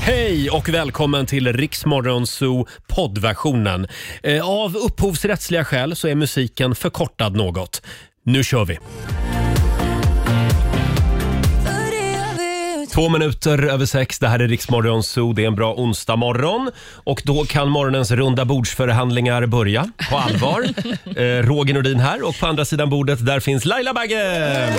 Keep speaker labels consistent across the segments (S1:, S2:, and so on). S1: Hej och välkommen till Riksmorgon Zoo poddversionen. Eh, Av upphovsrättsliga skäl så är musiken förkortad något. Nu kör vi! Två minuter över sex, det här är Riksmorgon Zoo. Det är en bra onsdag morgon. och då kan morgonens runda bordsförhandlingar börja på allvar. eh, Roger Nordin här och på andra sidan bordet där finns Laila Bagge!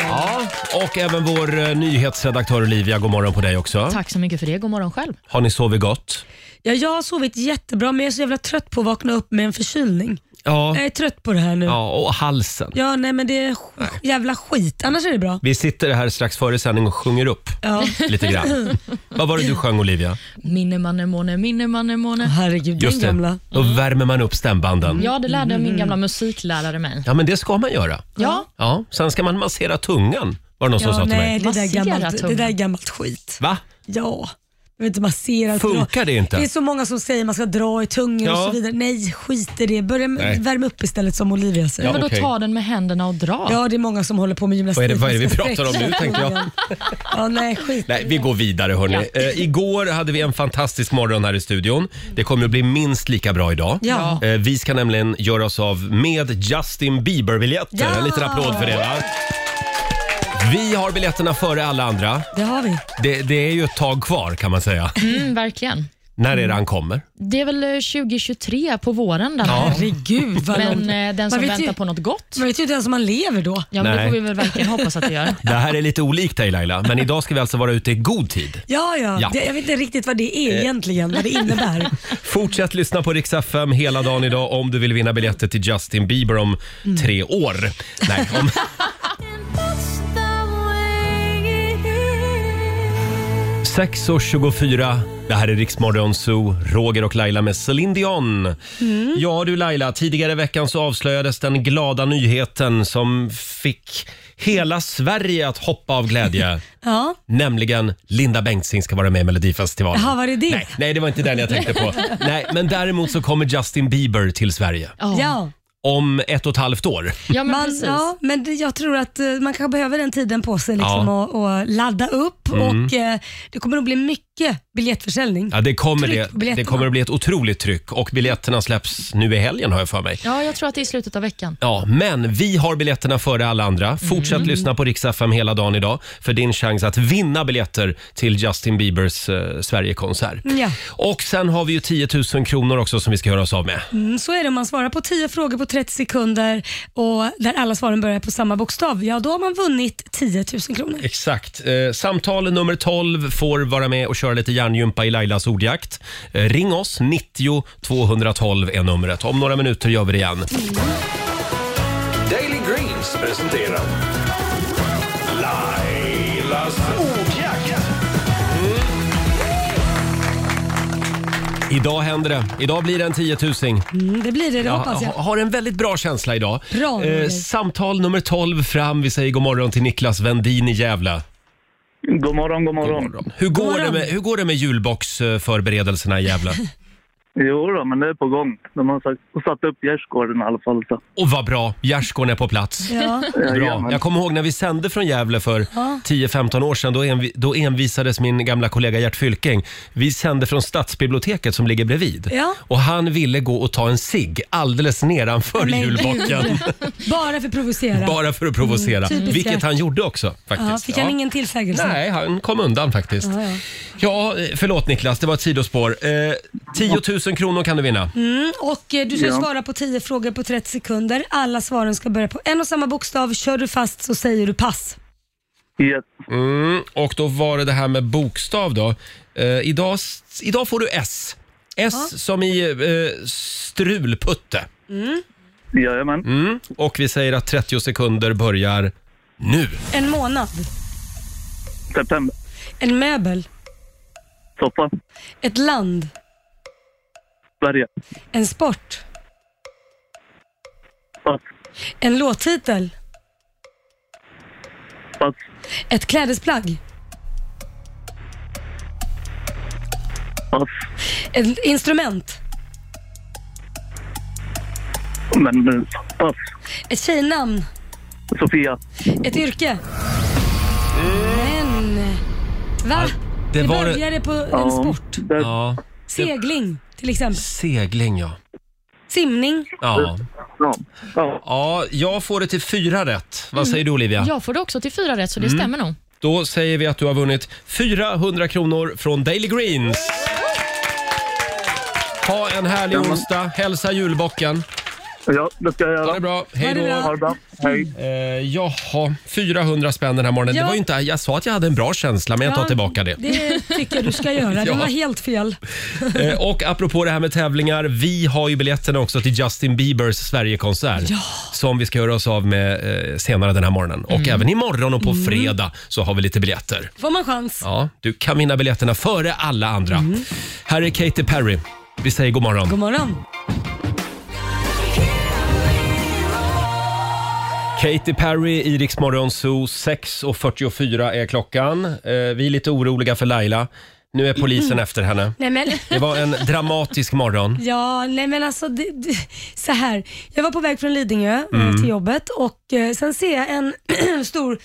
S1: Ja, och även vår eh, nyhetsredaktör Olivia, god morgon på dig också.
S2: Tack så mycket för det. God morgon själv.
S1: Har ni sovit gott?
S3: Ja, jag har sovit jättebra men jag är så jävla trött på att vakna upp med en förkylning.
S1: Ja.
S3: Jag är trött på det här nu. Ja,
S1: Ja, och halsen.
S3: nej men det är sk- jävla skit. Annars är det bra.
S1: Vi sitter här strax före sändning och sjunger upp
S3: Ja.
S1: lite grann. Vad var det du sjöng Olivia?
S2: Minne manne måne, minne manne måne.
S3: Herregud,
S1: Just
S3: den
S1: det,
S3: gamla. Mm.
S1: då värmer man upp stämbanden.
S2: Ja, det lärde min gamla musiklärare mig.
S1: Ja, men det ska man göra.
S2: Ja,
S1: Ja, sen ska man massera tungan, var det någon som sa
S3: Ja,
S1: till
S3: nej,
S1: mig.
S3: det där, är
S2: Massera
S3: gammalt, det
S2: tungan.
S3: där är gammalt skit.
S1: Va?
S3: Ja. Jag vet inte, massera.
S1: Funkar det inte?
S3: Det är så många som säger man ska dra i tungan
S1: Ja.
S3: och så vidare. Nej, skit i det. Börja med,
S1: Nej.
S3: värm upp istället som Olivia säger.
S1: Ja.
S3: Ja.
S2: men då
S1: okej.
S2: ta den med händerna och dra.
S3: det är många som håller på med gymnastik.
S1: Vad är det- vad är det vi
S3: Man ska
S1: pratar om nu,
S3: sträcka
S1: tänkte jag.
S3: tungan. Ja, nej, skit.
S1: Nej, vi går vidare hörni. Eh, igår hade vi en fantastisk morgon här i studion. Det kommer att bli minst lika bra idag.
S3: Ja.
S1: Eh, vi ska nämligen göra oss av med Justin Bieber-biljetter.
S3: Ja!
S1: En liten applåd för det va? Vi har biljetterna före alla andra.
S3: Det har vi.
S1: Det, det är ju ett tag kvar kan man säga.
S2: Mm, verkligen.
S1: När är det han kommer?
S2: Det är väl eh, 2023 på våren. Där.
S1: Ja.
S3: Herregud vad långt.
S2: Men eh, den som
S3: Man vet
S2: väntar
S3: ju-
S2: på något gott.
S3: Man vet ju inte ens om man lever då.
S2: Ja, men det
S1: Nej.
S2: får vi väl verkligen hoppas att det gör.
S1: Det här är lite olikt dig Laila, men idag ska vi alltså vara ute i god tid.
S3: Ja, ja.
S1: Ja. Eh.
S3: Det, jag vet inte riktigt vad det är egentligen, vad det innebär.
S1: Fortsätt lyssna på Rix FM hela dagen idag om du vill vinna biljetter till Justin Bieber om tre år. Nej, om... Sex och 24. Det här är Riksmorgon Zoo, Roger och Laila med Celine Dion. Ja du Laila, tidigare i veckan så avslöjades den glada nyheten som fick hela Sverige att hoppa av glädje.
S3: Ja.
S1: Nämligen Linda Bengtzing ska vara med i Melodifestivalen.
S3: Jaha, var det det?
S1: Nej, nej, det var inte den jag tänkte på. nej, men däremot så kommer Justin Bieber till Sverige
S2: Ja, ja.
S3: Ja,
S1: om ett och ett halvt år.
S2: men
S3: man,
S2: precis.
S3: ja, men det- jag tror att eh, man kanske behöver den tiden på sig liksom
S1: Ja. Mm.
S3: och, och ladda upp och eh, det kommer nog bli mycket biljettförsäljning.
S1: Ja, det, kommer
S3: Tryck på
S1: det, det
S3: biljetterna.
S1: kommer att bli ett otroligt tryck och biljetterna släpps nu i helgen har jag för mig.
S2: Ja, jag tror att det är i slutet av veckan.
S1: Ja, men vi har biljetterna före alla andra. Fortsätt
S3: Mm.
S1: lyssna på Rix FM hela dagen idag för din chans att vinna biljetter till Justin Biebers eh, Sverigekonsert.
S3: Ja.
S1: Och sen har vi ju 10 000 kronor också som vi ska göra oss av med.
S3: Mm, så är det om man svarar på 10 frågor på 30 sekunder och där alla svaren börjar på samma bokstav, ja då har man vunnit 10 000 kronor.
S1: Exakt. Eh, samtal nummer 12 får vara med och köra lite hjärngympa i Lailas ordjakt. Eh, ring oss, 90 212 är numret. Om några minuter gör vi det igen.
S4: Daily Greens presenterar Lailas ordjakt.
S1: Idag händer det. Idag blir det en 10 000.
S3: Mm, det blir det, det
S1: Jag
S3: hoppas jag.
S1: ha- har en väldigt bra känsla idag. Eh,
S3: Bra, Roger.
S1: samtal nummer 12 fram. Vi säger god morgon till Niklas Vendin i Gävle.
S5: God morgon, god morgon.
S1: Hur går,
S3: morgon.
S1: Det, med, hur går det med julboxförberedelserna i Gävle?
S5: Jo då, men det är på gång. De har sagt, satt upp gärdsgården i alla fall. Så.
S1: Och vad bra, gärdsgården är på plats.
S3: Ja.
S1: Bra.
S5: Jajamän.
S1: Jag kommer ihåg när vi sände från Gävle för 10-15 år sedan. Då, envi- då envisades min gamla kollega Gert Fylking. Vi sände från Stadsbiblioteket som ligger bredvid.
S3: Ja.
S1: Och han ville gå och ta en cigg alldeles nedanför
S3: Men
S1: julbocken.
S3: gud. Bara för att provocera.
S1: Bara för att provocera.
S3: Mm, typiskt
S1: vilket
S3: Gert.
S1: han gjorde också faktiskt.
S3: ja, fick
S1: Ja.
S3: han ingen tillsägelse?
S1: Nej, han kom undan faktiskt. Ja,
S3: Ja, ja.
S1: eh, förlåt Niklas, det var ett sidospår. Eh, 10 000 kronor kan du vinna.
S3: Och eh, du ska
S5: Ja.
S3: svara på 10 frågor på 30 sekunder. Alla svaren ska börja på en och samma bokstav. Kör du fast så säger du pass.
S5: Yes.
S1: Mm, och då var det det här med bokstav då. Eh, idag, s- idag får du S. S som i eh, strulputte.
S5: Jajamän.
S1: Mm. Och vi säger att 30 sekunder börjar nu.
S3: En månad.
S5: September.
S3: En möbel.
S5: Soppa.
S3: Ett land.
S5: Sverige.
S3: En sport.
S5: Pass.
S3: En låttitel.
S5: Pass.
S3: Ett klädesplagg.
S5: Pass.
S3: Ett instrument.
S5: Men, men pass.
S3: Ett tjejnamn.
S5: Sofia.
S3: Ett yrke. Men... Va?
S1: Det
S3: Det
S1: var...
S3: började på en sport.
S5: Där,
S1: Ja,
S3: Segling till exempel.
S1: segling ja.
S3: Simning.
S1: Ja,
S5: ja. Ja.
S1: ja jag får det till fyra rätt. Vad säger du Olivia?
S2: Jag får det också till fyra rätt, så det
S3: Mm.
S2: stämmer nog.
S1: Då säger vi att du har vunnit 400 kronor från Daily Greens. Ha en härlig onsdag. Hälsa julbocken.
S5: ja, det ska jag
S1: Ha det
S5: göra.
S1: bra. Hej
S3: det
S1: då.
S3: bra.
S5: Ha det bra. Hej.
S1: Eh, jaha, 400 spänn den här morgonen.
S3: Ja.
S1: Det var ju inte, jag sa att jag hade en bra känsla, men jag tar
S3: Ja,
S1: tillbaka det.
S3: Det tycker jag du ska göra. Det
S1: Ja.
S3: var helt fel.
S1: Eh, och apropå det här med tävlingar, vi har ju biljetterna också till Justin Biebers Sverigekonsert som vi ska göra oss av med eh, senare den här morgonen.
S3: Mm.
S1: Och även imorgon och på fredag så har vi lite biljetter.
S3: Får man chans?
S1: Ja, du kan vinna biljetterna före alla andra. Här är Katy Perry. Vi säger god morgon.
S3: Mm. God morgon.
S1: Katy Perry i Rix Morgon Zoo. 6.44 är klockan. Eh, vi är lite oroliga för Laila. Nu är
S3: Mm.
S1: polisen efter henne.
S3: Nej men,
S1: Det var en dramatisk morgon.
S3: ja, nej men alltså det, det, så här. Jag var på väg från Lidingö eh, till jobbet och eh, sen ser jag en stor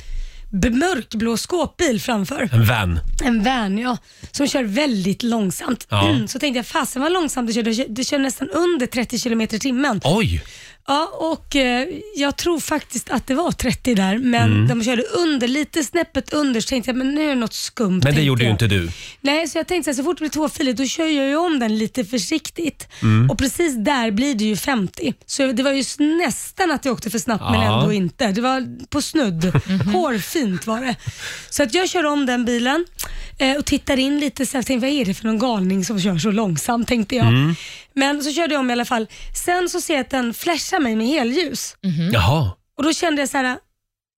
S3: b- mörkblå skåpbil framför.
S1: En van.
S3: En van ja, som kör väldigt långsamt. Mm,
S1: Ja.
S3: Så tänkte jag, fasen vad långsamt det kör. Det kör- Det kör nästan under 30 km i timmen.
S1: Oj!
S3: Ja, och eh, jag tror faktiskt att det var 30 där, men
S1: Mm.
S3: de körde under, lite snäppet under, så tänkte jag men nu är det något skumt.
S1: Men det
S3: tänkte
S1: gjorde ju
S3: jag. Mm.
S1: inte du.
S3: Nej, så jag tänkte så, här, så fort det blir tvåfiligt då kör jag ju om den lite försiktigt. Och precis där blir det ju 50. Så det var ju s- nästan att jag åkte för snabbt men
S1: Ja.
S3: ändå inte. Det var på snudd. Hårfint var det. Så att jag kör om den bilen eh, och tittar in lite så här, tänkte, vad är det för någon galning som kör så långsamt tänkte jag. Men så körde jag om i alla fall. Sen så ser jag att den flashar mig med helljus.
S1: Jaha.
S3: Och då kände jag så här.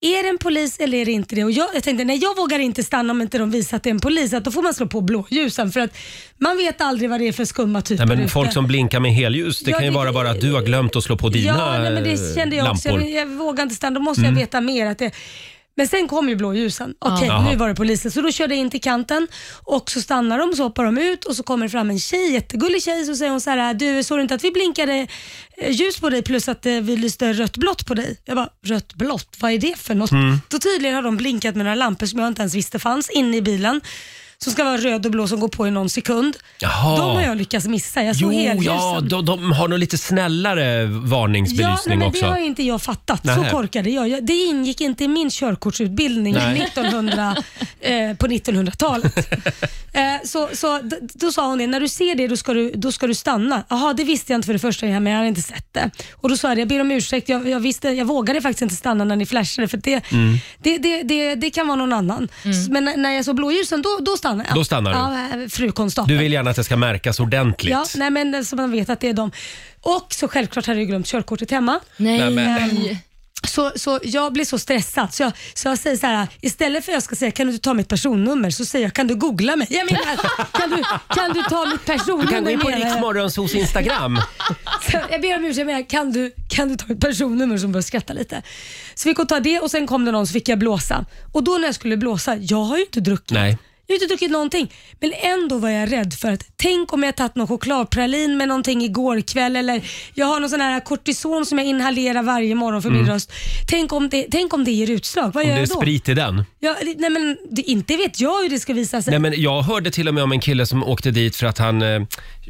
S3: Är det en polis eller är det inte det? Och jag, jag tänkte, nej jag vågar inte stanna om inte de visar att det är en polis. Att då får man slå på blåljusen för att man vet aldrig vad det är för skumma typer
S1: Nej, men
S3: ute.
S1: folk som blinkar med helljus, det
S3: Ja,
S1: kan ju
S3: det-
S1: vara bara att du har glömt att slå på dina
S3: Ja, nej, men det
S1: eh,
S3: kände jag också.
S1: lampor. Mm.
S3: Jag, jag vågar inte stanna. Då måste jag veta mer. Att det, men sen kom ju blåljusen. Okej,
S1: Jaha.
S3: nu var det polisen. Så då körde jag in till kanten och så stannar de, så hoppar de ut och så kommer det fram en tjej, jättegullig tjej, så säger hon så här, du såg du inte att vi blinkade eh, ljus på dig plus att eh, vi lyste rött blått på dig? Jag bara, rött blått, vad är det för något?
S1: Mm.
S3: Då tydligen har de blinkat med några lampor som jag inte ens visste fanns inne i bilen. Som ska vara röd och blå som går på i någon sekund.
S1: Jaha.
S3: De har jag lyckats missa. Jag såg
S1: Jo,
S3: helljusen.
S1: ja, de, de har nog lite snällare
S3: Ja, nej,
S1: varningsbelysning
S3: men
S1: också.
S3: det har inte jag fattat.
S1: Nähä.
S3: Så korkade jag. jag. Det ingick inte i min körkortsutbildning
S1: Nej.
S3: 1900, eh, på 1900-talet. eh, så, så d- då sa hon det, när du ser det då ska du, då ska du stanna. Jaha, det visste jag inte för det första, men jag hade inte sett det. Och Då sa jag det, jag ber om ursäkt, jag, jag, visste, jag vågade faktiskt inte stanna när ni flashade för det,
S1: Mm.
S3: det, det, det, det kan vara någon annan. S- Men när- när jag såg blåljusen, då, då stannade jag.
S1: Då stannade
S3: du? Ja, fru konstapel.
S1: Du vill gärna att det ska märkas ordentligt.
S3: Ja, nej, men eh, så man vet att det är dem. Och så självklart hade jag glömt körkortet hemma.
S2: Nej,
S1: men-
S3: Ehm, Så, så jag blir så stressad så jag, så jag säger så här: istället för att jag ska säga kan du ta mitt personnummer så säger jag kan du googla mig? Jag menar, kan, du, kan du ta mitt personnummer?
S1: Du kan gå in på
S3: menar jag.
S1: Riksmorgonsos Instagram.
S3: Så jag ber om ursäkt men jag, kan du, kan du ta mitt personnummer? Som börjar skratta lite. Så fick hon ta det och sen kom det någon så fick jag blåsa. Och då när jag skulle blåsa, jag har ju inte druckit.
S1: Nej.
S3: Jag har inte druckit någonting. Men ändå var jag rädd för att tänk om jag tagit någon chokladpralin med någonting igår kväll eller jag har någon sån här kortison som jag inhalerar varje morgon för min röst. Tänk om det, tänk om det ger utslag, vad
S1: Mm. Om
S3: gör
S1: det är
S3: jag då?
S1: sprit i den.
S3: Ja, det- nej men det, inte vet jag hur det ska visa sig.
S1: Nej, men jag hörde till och med om en kille som åkte dit för att han eh,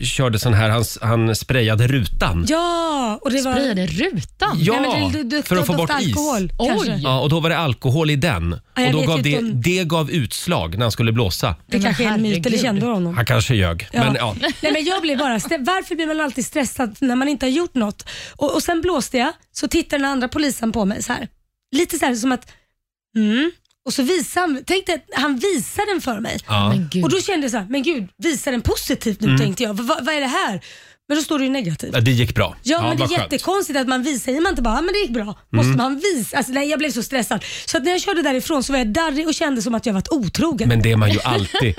S1: körde sån här, han, han sprayade rutan.
S3: Ja, och det var...
S2: Sprayade rutan?
S1: Ja,
S3: nej, men det, det, det,
S1: för att få bort is.
S3: alkohol,
S2: Oj.
S3: Kanske.
S1: Ja, och då var det alkohol i den.
S3: Ja, jag
S1: och då
S3: vet
S1: gav
S3: inte
S1: det,
S3: om-
S1: det gav utslag när han skulle blåsa.
S3: Det
S2: Men
S3: kanske är en myt eller
S2: herregud.
S3: kände honom.
S1: Han kanske ljög, men ja.
S3: Nej, men jag blir bara stre- Varför blir man alltid stressad när man inte har gjort något? Och, och Sen blåste jag, så tittar den andra polisen på mig så här. Lite så här som att, mm. Och så visar han, tänkte att han visar den för mig.
S1: ja.
S2: Men gud.
S3: Och då kände jag så här, men gud, visar den positivt nu tänkte jag. Va- vad är det här? Men då står det ju negativt.
S1: Mm. Ja, Det gick bra.
S3: Ja, men det
S1: vad
S3: är
S1: skönt. Mm.
S3: jättekonstigt att man visar. Säger man inte bara, "Ja, men det gick bra? Måste man visa? Alltså, nej, jag blev så stressad. Så att när jag körde därifrån så var jag darrig och kände som att jag varit otrogen.
S1: Men det är man ju alltid.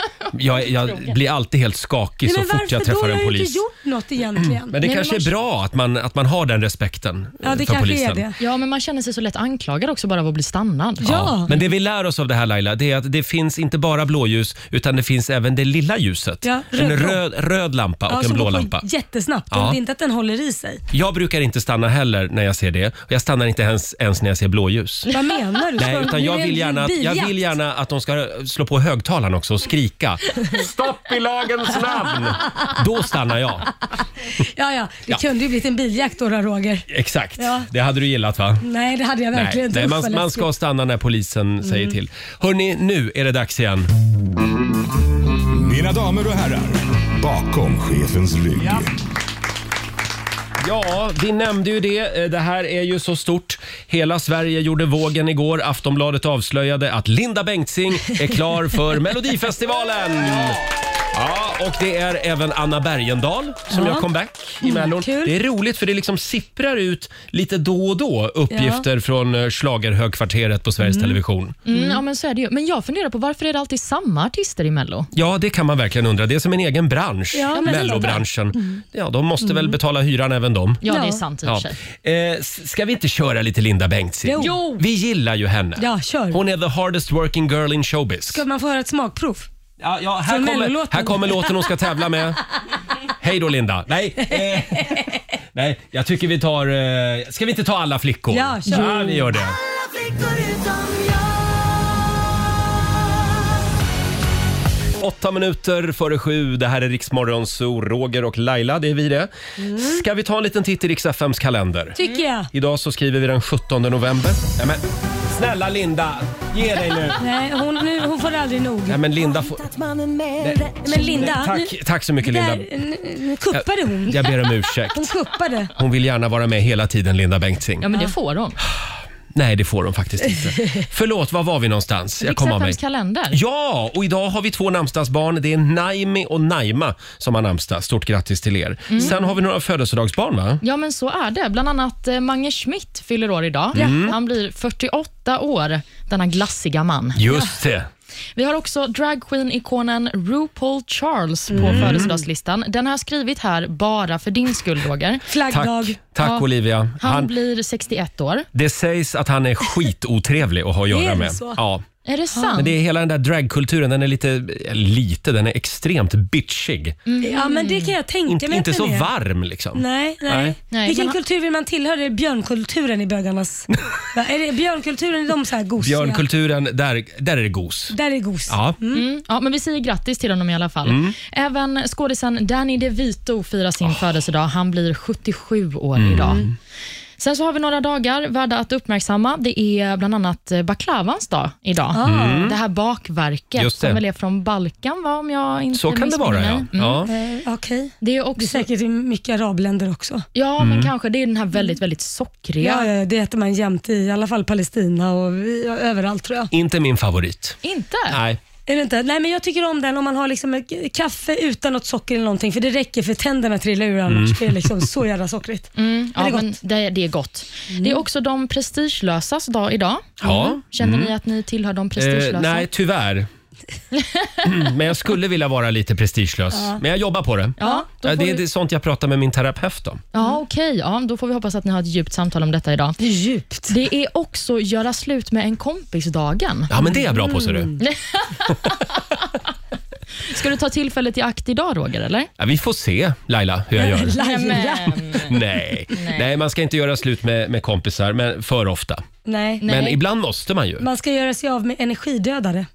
S1: Jag, jag blir alltid helt skakig
S3: nej,
S1: så
S3: men
S1: fort jag
S3: varför då?
S1: träffar
S3: Jag
S1: en
S3: har ju inte
S1: polis.
S3: gjort något egentligen.
S1: Men det
S2: Nej, men
S1: kanske
S2: man-
S1: är bra att man, att man har den respekten eh,
S3: Ja, det
S1: för
S3: kanske
S1: polisen.
S3: är det.
S2: Ja, men man känner sig så lätt anklagad också bara av att bli stannad.
S3: Ja.
S1: Men det vi lär oss av det här Laila, det är att det finns inte bara blåljus utan det finns även det lilla ljuset.
S3: Ja,
S1: en
S3: röd-
S1: röd, röd lampa och en
S3: som
S1: blå
S3: går på
S1: lampa.
S3: jättesnabbt.
S1: Ja.
S3: Och det är inte att den håller i sig.
S1: Jag brukar inte stanna heller när jag ser det. Och Jag stannar inte ens, ens när jag ser blåljus.
S3: Vad menar du?
S1: Nej,
S3: Ska-
S1: utan jag
S3: nu är
S1: vill,
S3: det
S1: gärna, jag
S3: biljakt.
S1: vill gärna att de ska slå på högtalaren också och skrika. Stopp i lagens namn! Då stannar jag.
S3: Ja, ja. Det kunde ju blivit en biljakt då, då, Roger.
S1: Exakt.
S3: Ja.
S1: Det hade du gillat va?
S3: Nej, det hade jag verkligen
S1: Nej,
S3: inte.
S1: nej
S3: Usch,
S1: man,
S3: vad
S1: man
S3: läskigt. Mm.
S1: ska stanna när polisen säger till. Hörni, nu är det dags igen.
S6: Mina damer och herrar, bakom chefens rygg.
S1: Ja, vi nämnde ju det. Eh, Det här är ju så stort. Hela Sverige gjorde vågen igår. Aftonbladet avslöjade att Linda Bengtzing är klar för Melodifestivalen. Ja, och det är även Anna Bergendahl som
S3: Ja. Mm,
S1: gör comeback i Mellon.
S3: kul.
S1: Det är roligt för det liksom sipprar ut lite då och då uppgifter från slagerhögkvarteret på Sveriges Television.
S2: Mm, ja, men så är det ju. Men jag funderar på varför är det alltid samma artister i Mello?
S1: Ja, det kan man verkligen undra. Det är som en egen bransch,
S3: Ja, men
S1: Mellobranschen.
S3: Mm.
S1: Ja, de måste väl betala hyran även de.
S2: Ja, det är
S3: Ja.
S2: sant i och
S1: Ja.
S2: för sig.
S1: Eh, s- ska vi inte köra lite Linda Bengtzing?
S3: Jo.
S2: Jo.
S1: Vi gillar ju henne.
S3: Ja, kör.
S1: Hon är the hardest working girl in showbiz.
S3: Ska man få höra ett smakprov?
S1: Ja, ja, här,
S3: Från
S1: kommer,
S3: Mellolåten.
S1: här kommer låten hon ska tävla med. Hej då Linda. Nej, eh, nej jag tycker vi tar... Eh, ska vi inte ta alla flickor?
S3: Ja, kör.
S1: ja vi gör det. Åtta minuter före sju. Det här är Riksmorgon Zoo. Roger och Laila, det är vi det.
S3: Mm.
S1: Ska vi ta en liten titt i Rix FMs kalender?
S3: Tycker jag.
S1: Idag så skriver vi den 17 november. Nej, men, snälla Linda, ge dig nu.
S3: Nej, hon, nu, hon får aldrig nog.
S1: Nej, men Linda får... Eh,
S3: Men Linda,
S1: Tack,
S3: nu,
S1: tack så mycket Linda.
S3: där, nu, nu kuppade hon.
S1: Jag ber om ursäkt.
S3: Hon kuppade.
S1: Hon vill gärna vara med hela tiden, Linda Bengtzing.
S2: Ja, men det får de.
S1: Nej, det får hon faktiskt inte. Förlåt, var var vi någonstans? Jag kom av mig.
S2: Riks-FMs kalender.
S1: Ja, och idag har vi två namnsdagsbarn. Det är Naimi och Naima som har namnsdag. Stort grattis till er.
S3: Mm.
S1: Sen har vi några födelsedagsbarn, va?
S2: Ja, men så är det. Bland annat eh, Mange Schmidt fyller år idag. Han blir 48 år, denna glassiga man.
S1: Just det.
S2: Vi har också dragqueen-ikonen RuPaul Charles på födelsedagslistan. Den har jag skrivit här bara för din skull, Roger.
S1: Tack,
S3: Flaggdag.
S1: tack
S2: Ja.
S1: Olivia.
S2: Han,
S1: Han,
S2: blir 61 år.
S1: det sägs att han är skitotrevlig att ha att
S3: Är
S1: göra
S3: det
S1: med.
S3: så?
S1: Ja.
S2: Är det sant?
S1: Men det är hela den där dragkulturen, den är lite, eh, lite, den är extremt bitchig.
S2: Mm.
S3: Ja, men det kan jag tänka
S1: Inte,
S3: mig.
S1: inte
S3: att
S1: så
S3: den är.
S1: varm liksom.
S3: Nej, nej.
S2: Nej,
S3: Vilken
S2: men-
S3: kultur vill man tillhöra? Är det björnkulturen i bögarnas? Va, är det björnkulturen, är de så här gosiga?
S1: Björnkulturen, där, där är det gos.
S3: Där är gos.
S1: Ja.
S2: Mm. Ja, men vi säger grattis till honom i alla fall.
S1: Mm.
S2: Även skådisen Danny DeVito firar sin födelsedag. Han blir 77 år
S1: Mm.
S2: idag. Sen så har vi några dagar värda att uppmärksamma. Det är bland annat eh, baklavans dag idag.
S3: Ah.
S2: Det här bakverket
S1: Mm. Just det.
S2: som väl är från Balkan, va? om jag inte
S1: Så kan det
S2: missminner
S1: vara
S2: mig.
S1: ja.
S2: Mm.
S1: ja.
S3: Eh, Okej.
S2: Det är
S3: Det är
S2: också...
S3: säkert i mycket arabländer också.
S2: Ja,
S1: Mm.
S2: men kanske. Det är den här väldigt, väldigt sockriga.
S3: Mm. Ja, ja, det äter man jämt i, i alla fall Palestina och i- överallt tror jag.
S1: Inte min favorit.
S2: Inte?
S1: Nej.
S3: Är det inte? Nej, men jag tycker om den om man har liksom ett k- kaffe utan något socker eller någonting, för det räcker för tänderna trillar ur annars.
S1: Mm.
S3: Det är liksom så jävla sockrigt.
S2: Mm, ja,
S3: det gott?
S2: men det, det är gott.
S3: Mm.
S2: Det är också de prestigelösas dag idag.
S1: Ja.
S2: Känner ni att ni tillhör de Mm. prestigelösa?
S1: Mm. Eh, nej, tyvärr. Mm, Men jag skulle vilja vara lite prestigelös. Men jag jobbar på det.
S2: Ja, då
S1: Eh,
S2: får
S1: det,
S2: vi-
S1: det är sånt jag pratar med min terapeut om.
S2: Ja, okej. Ja, då får vi hoppas att ni har ett djupt samtal om detta idag.
S3: Det är djupt.
S2: Det är också göra slut med en kompis-dagen.
S1: Ja, men det är jag bra på, ser du.
S2: Mm. Ska du ta tillfället i akt idag, Roger? Eller?
S1: Ja, vi får se, Laila, hur jag gör.
S3: Laila.
S1: Nej. Nej, man ska inte göra slut med, med kompisar men för ofta.
S3: Nej.
S2: Nej.
S1: Men ibland måste man ju.
S3: Man ska göra sig av med energidödare.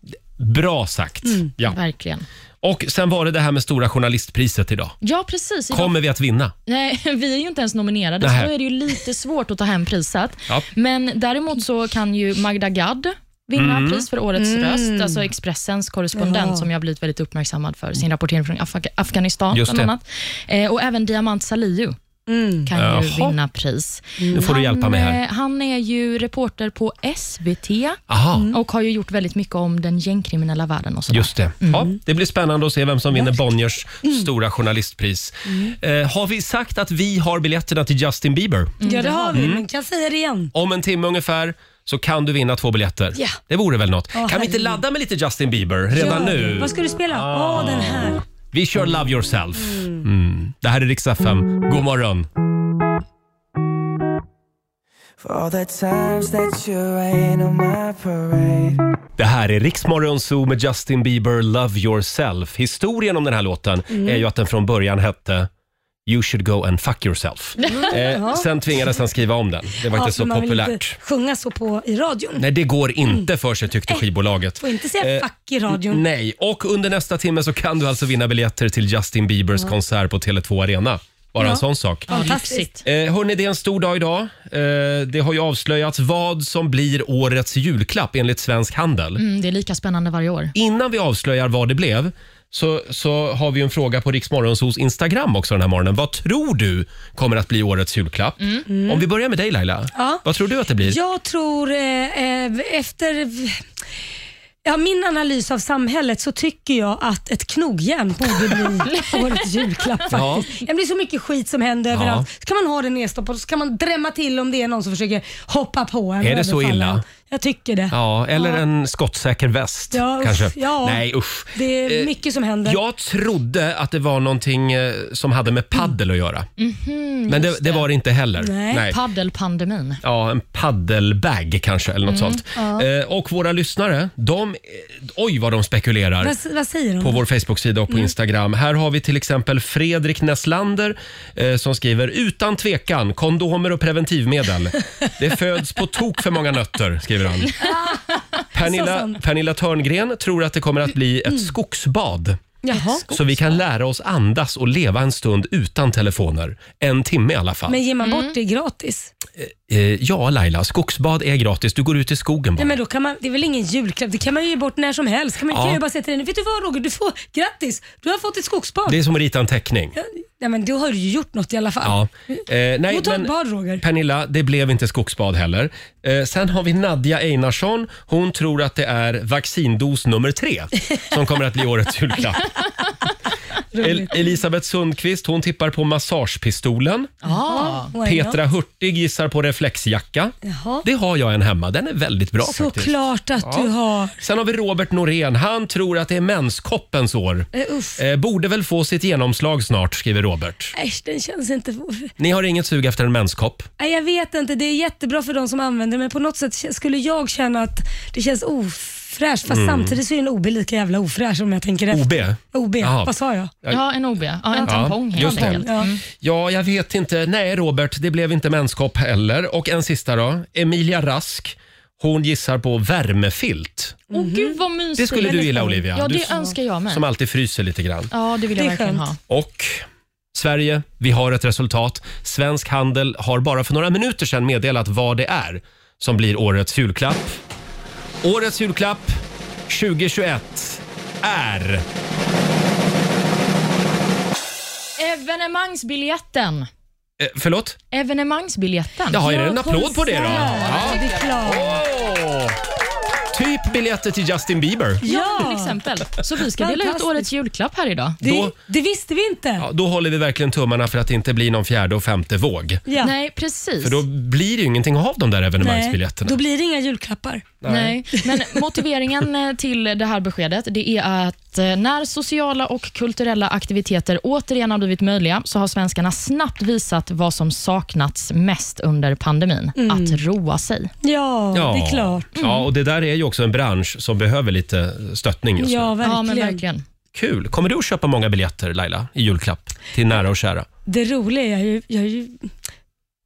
S1: Bra sagt.
S3: Mm.
S1: Ja.
S2: Verkligen.
S1: Och sen var det det här med Stora journalistpriset idag.
S2: Ja, precis. Idag-
S1: Kommer vi att vinna?
S2: Nej, vi är ju inte ens nominerade,
S1: Nähä.
S2: så då är det ju lite svårt att ta hem priset.
S1: Ja.
S2: Men däremot så kan ju Magda Gad vinna
S1: Mm.
S2: pris för årets röst, alltså Expressens korrespondent
S3: Ja.
S2: som jag blivit väldigt uppmärksammad för sin rapportering från Af- Afghanistan
S1: Just
S2: bland
S1: det.
S2: annat. Eh, och även Diamant Salihu kan ju
S1: Jaha.
S2: vinna pris.
S1: Nu får du hjälpa mig här.
S2: eh, han är ju reporter på SVT
S1: Aha.
S3: Mm.
S2: och har ju gjort väldigt mycket om den gängkriminella världen och sådär.
S1: Just det.
S3: Mm.
S1: Ja, det blir spännande att se vem som vinner Bonniers stora journalistpris.
S3: Mm.
S1: Eh, har vi sagt att vi har biljetterna till Justin Bieber?
S2: Mm.
S3: ja, det har
S1: Mm.
S3: vi, men kan jag säga det igen?
S1: Om en timme ungefär så kan du vinna två biljetter.
S3: Ja.
S1: Det vore väl något. kan vi inte
S3: herregud.
S1: ladda med lite Justin Bieber redan
S3: Ja.
S1: nu? Ah.
S3: Vad ska du spela? Åh, den här.
S1: Vi kör Love yourself. Mm. Det här är Rix FM. God morgon.
S7: For all the times that you rain on my parade.
S1: Det här är Riksmorgon Zoo med
S3: Mm.
S1: Justin Bieber, Love yourself. Historien om den här låten är ju att den från början hette You should go and fuck yourself. Eh, sen tvingades han skriva om den. Det var inte
S3: Ja,
S1: så
S3: för man vill
S1: populärt.
S3: Inte sjunga så på i radion.
S1: Nej, det går inte för sig tyckte
S3: Eh,
S1: skivbolaget.
S3: Får inte säga
S1: Eh,
S3: fuck i radion.
S1: Nej, och under nästa timme så kan du alltså vinna biljetter till Justin Biebers konsert på Tele2 Arena. Bara en
S3: Ja.
S1: sån sak.
S2: Ja,
S3: Fantastiskt.
S2: lyxigt.
S1: Eh, hörni, det är en stor dag idag. Eh, det har ju avslöjats vad som blir årets julklapp enligt Svensk Handel.
S2: Mm, det är lika spännande varje år.
S1: Innan vi avslöjar vad det blev så, så har vi en fråga på Riksmorgonsos Instagram också den här morgonen. Vad tror du kommer att bli årets julklapp? Om vi börjar med dig Laila.
S3: Mm. Ja.
S1: Vad tror du att det blir?
S3: Jag tror eh, eh, efter ja, min analys av samhället så tycker jag att ett knogjärn borde bli årets julklapp faktiskt. Det blir så mycket skit som händer överallt. Så kan man ha det nedstoppat och så kan man drämma till om det är någon som försöker hoppa på en. och
S1: Är det så
S3: överfalla
S1: illa?
S3: en. Jag tycker det.
S1: Ja, eller en skottsäker väst
S3: Ja, usch,
S1: kanske.
S3: ja.
S1: Nej usch.
S3: Det är
S1: Eh,
S3: mycket som händer.
S1: Jag trodde att det var någonting eh, som hade med paddel att göra. Men det, det var det inte heller.
S3: Mhm, Nej.
S2: Paddelpandemin.
S1: Ja, en paddelbag kanske eller något
S3: Mm,
S1: sånt. Eh, och våra lyssnare, de, eh, oj vad de spekulerar.
S3: Vad, vad säger hon?
S1: på vår Facebook-sida och
S3: Mm.
S1: på Instagram. Här har vi till exempel Fredrik Nesslander eh, som skriver “Utan tvekan, kondomer och preventivmedel. Det föds på tok för många nötter”, skriver han. Pernilla, Pernilla Törngren tror att det kommer att bli
S3: Mm.
S1: ett skogsbad.
S3: Jaha.
S1: Så vi kan lära oss andas och leva en stund utan telefoner. En timme i alla fall.
S3: Men ger man
S1: Mm.
S3: bort det gratis?
S1: Eh, ja, Laila, skogsbad är gratis. Du går ut i skogen bara.
S3: Nej, men då kan man, det är väl ingen julklapp? Det kan man ju ge bort när som helst. Kan man
S1: Ja.
S3: kan ju bara säga till henne, vet du vad Roger, du får, grattis, du har fått ett skogsbad.
S1: Det är som att rita en teckning.
S3: Nej, men då har du ju gjort något i alla fall.
S1: Ja. Eh, nej,
S3: Och ta ett bad, Roger.
S1: Pernilla, det blev inte skogsbad heller. Eh, sen har vi Nadja Einarsson. Hon tror att det är vaccindos nummer tre som kommer att bli årets julklapp. El- Elisabeth Sundqvist hon tippar på massagepistolen.
S2: Ja.
S3: Why not?
S1: Petra Hurtig gissar på reflexjacka.
S3: Jaha.
S1: Det har jag en hemma. Den är väldigt bra faktiskt.
S3: Såklart att du har.
S1: Sen har vi Robert Norén. Han tror att det är menskoppens år.
S3: Eh, uff.
S1: Eh, borde väl få sitt genomslag snart, skriver Robert.
S3: Äsch, den känns inte...
S1: Ni har inget sug efter en menskopp?
S3: Nej, jag vet inte, det är jättebra för de som använder men på något sätt k- skulle jag känna att det känns ofräscht.
S1: Mm.
S3: Fast samtidigt så är den OB lika jävla ofräsch om jag tänker efter.
S1: OB?
S3: OB,
S1: Jaha.
S3: vad sa jag?
S2: ja, en OB. Ja, en tampong helt
S1: just det. Mm.
S2: enkelt. Mm.
S3: Ja.
S1: Ja, jag vet inte. Nej, Robert, det blev inte menskopp heller. Och en sista då. Emilia Rask. Hon gissar på värmefilt,
S2: Åh gud vad mysigt.
S1: Det skulle du gilla, Olivia.
S2: Ja,
S1: Du-
S2: det önskar jag med.
S1: som alltid fryser lite grann.
S2: Ja, det vill jag
S3: Det är
S2: verkligen
S3: skönt.
S2: ha.
S1: Och Sverige, vi har ett resultat. Svensk Handel har bara för några minuter sedan meddelat vad det är som blir årets julklapp. Årets julklapp 2021 är...
S2: Evenemangsbiljetten.
S1: Eh, förlåt?
S2: Evenemangsbiljetten.
S1: Jaha, är det en applåd på det då?
S3: Ja, det är klart.
S1: Åh! Typ biljetter till Justin Bieber.
S2: Ja,
S3: Ja.
S2: till exempel. Så vi ska dela ut
S3: Fantastiskt.
S2: årets julklapp här idag.
S3: Det,
S1: Då-
S3: det visste vi inte.
S1: Ja, då håller vi verkligen tummarna för att det inte blir någon fjärde och femte våg.
S3: Ja.
S2: Nej, precis.
S1: För då blir det ju ingenting av de där evenemangsbiljetterna.
S3: Då blir det inga julklappar.
S2: Nej. Men motiveringen eh, till det här beskedet det är att eh, när sociala och kulturella aktiviteter återigen har blivit möjliga så har svenskarna snabbt visat vad som saknats mest under pandemin.
S3: Mm.
S2: Att roa sig.
S3: Ja,
S1: Ja.
S3: det är klart.
S1: Ja, och det där är ju också en bransch som behöver lite stöttning just nu.
S3: Ja, verkligen.
S2: Ja, men verkligen.
S1: Kul! Kommer du att köpa många biljetter, Laila, i julklapp till nära och kära?
S3: Det roliga är ju, jag har ju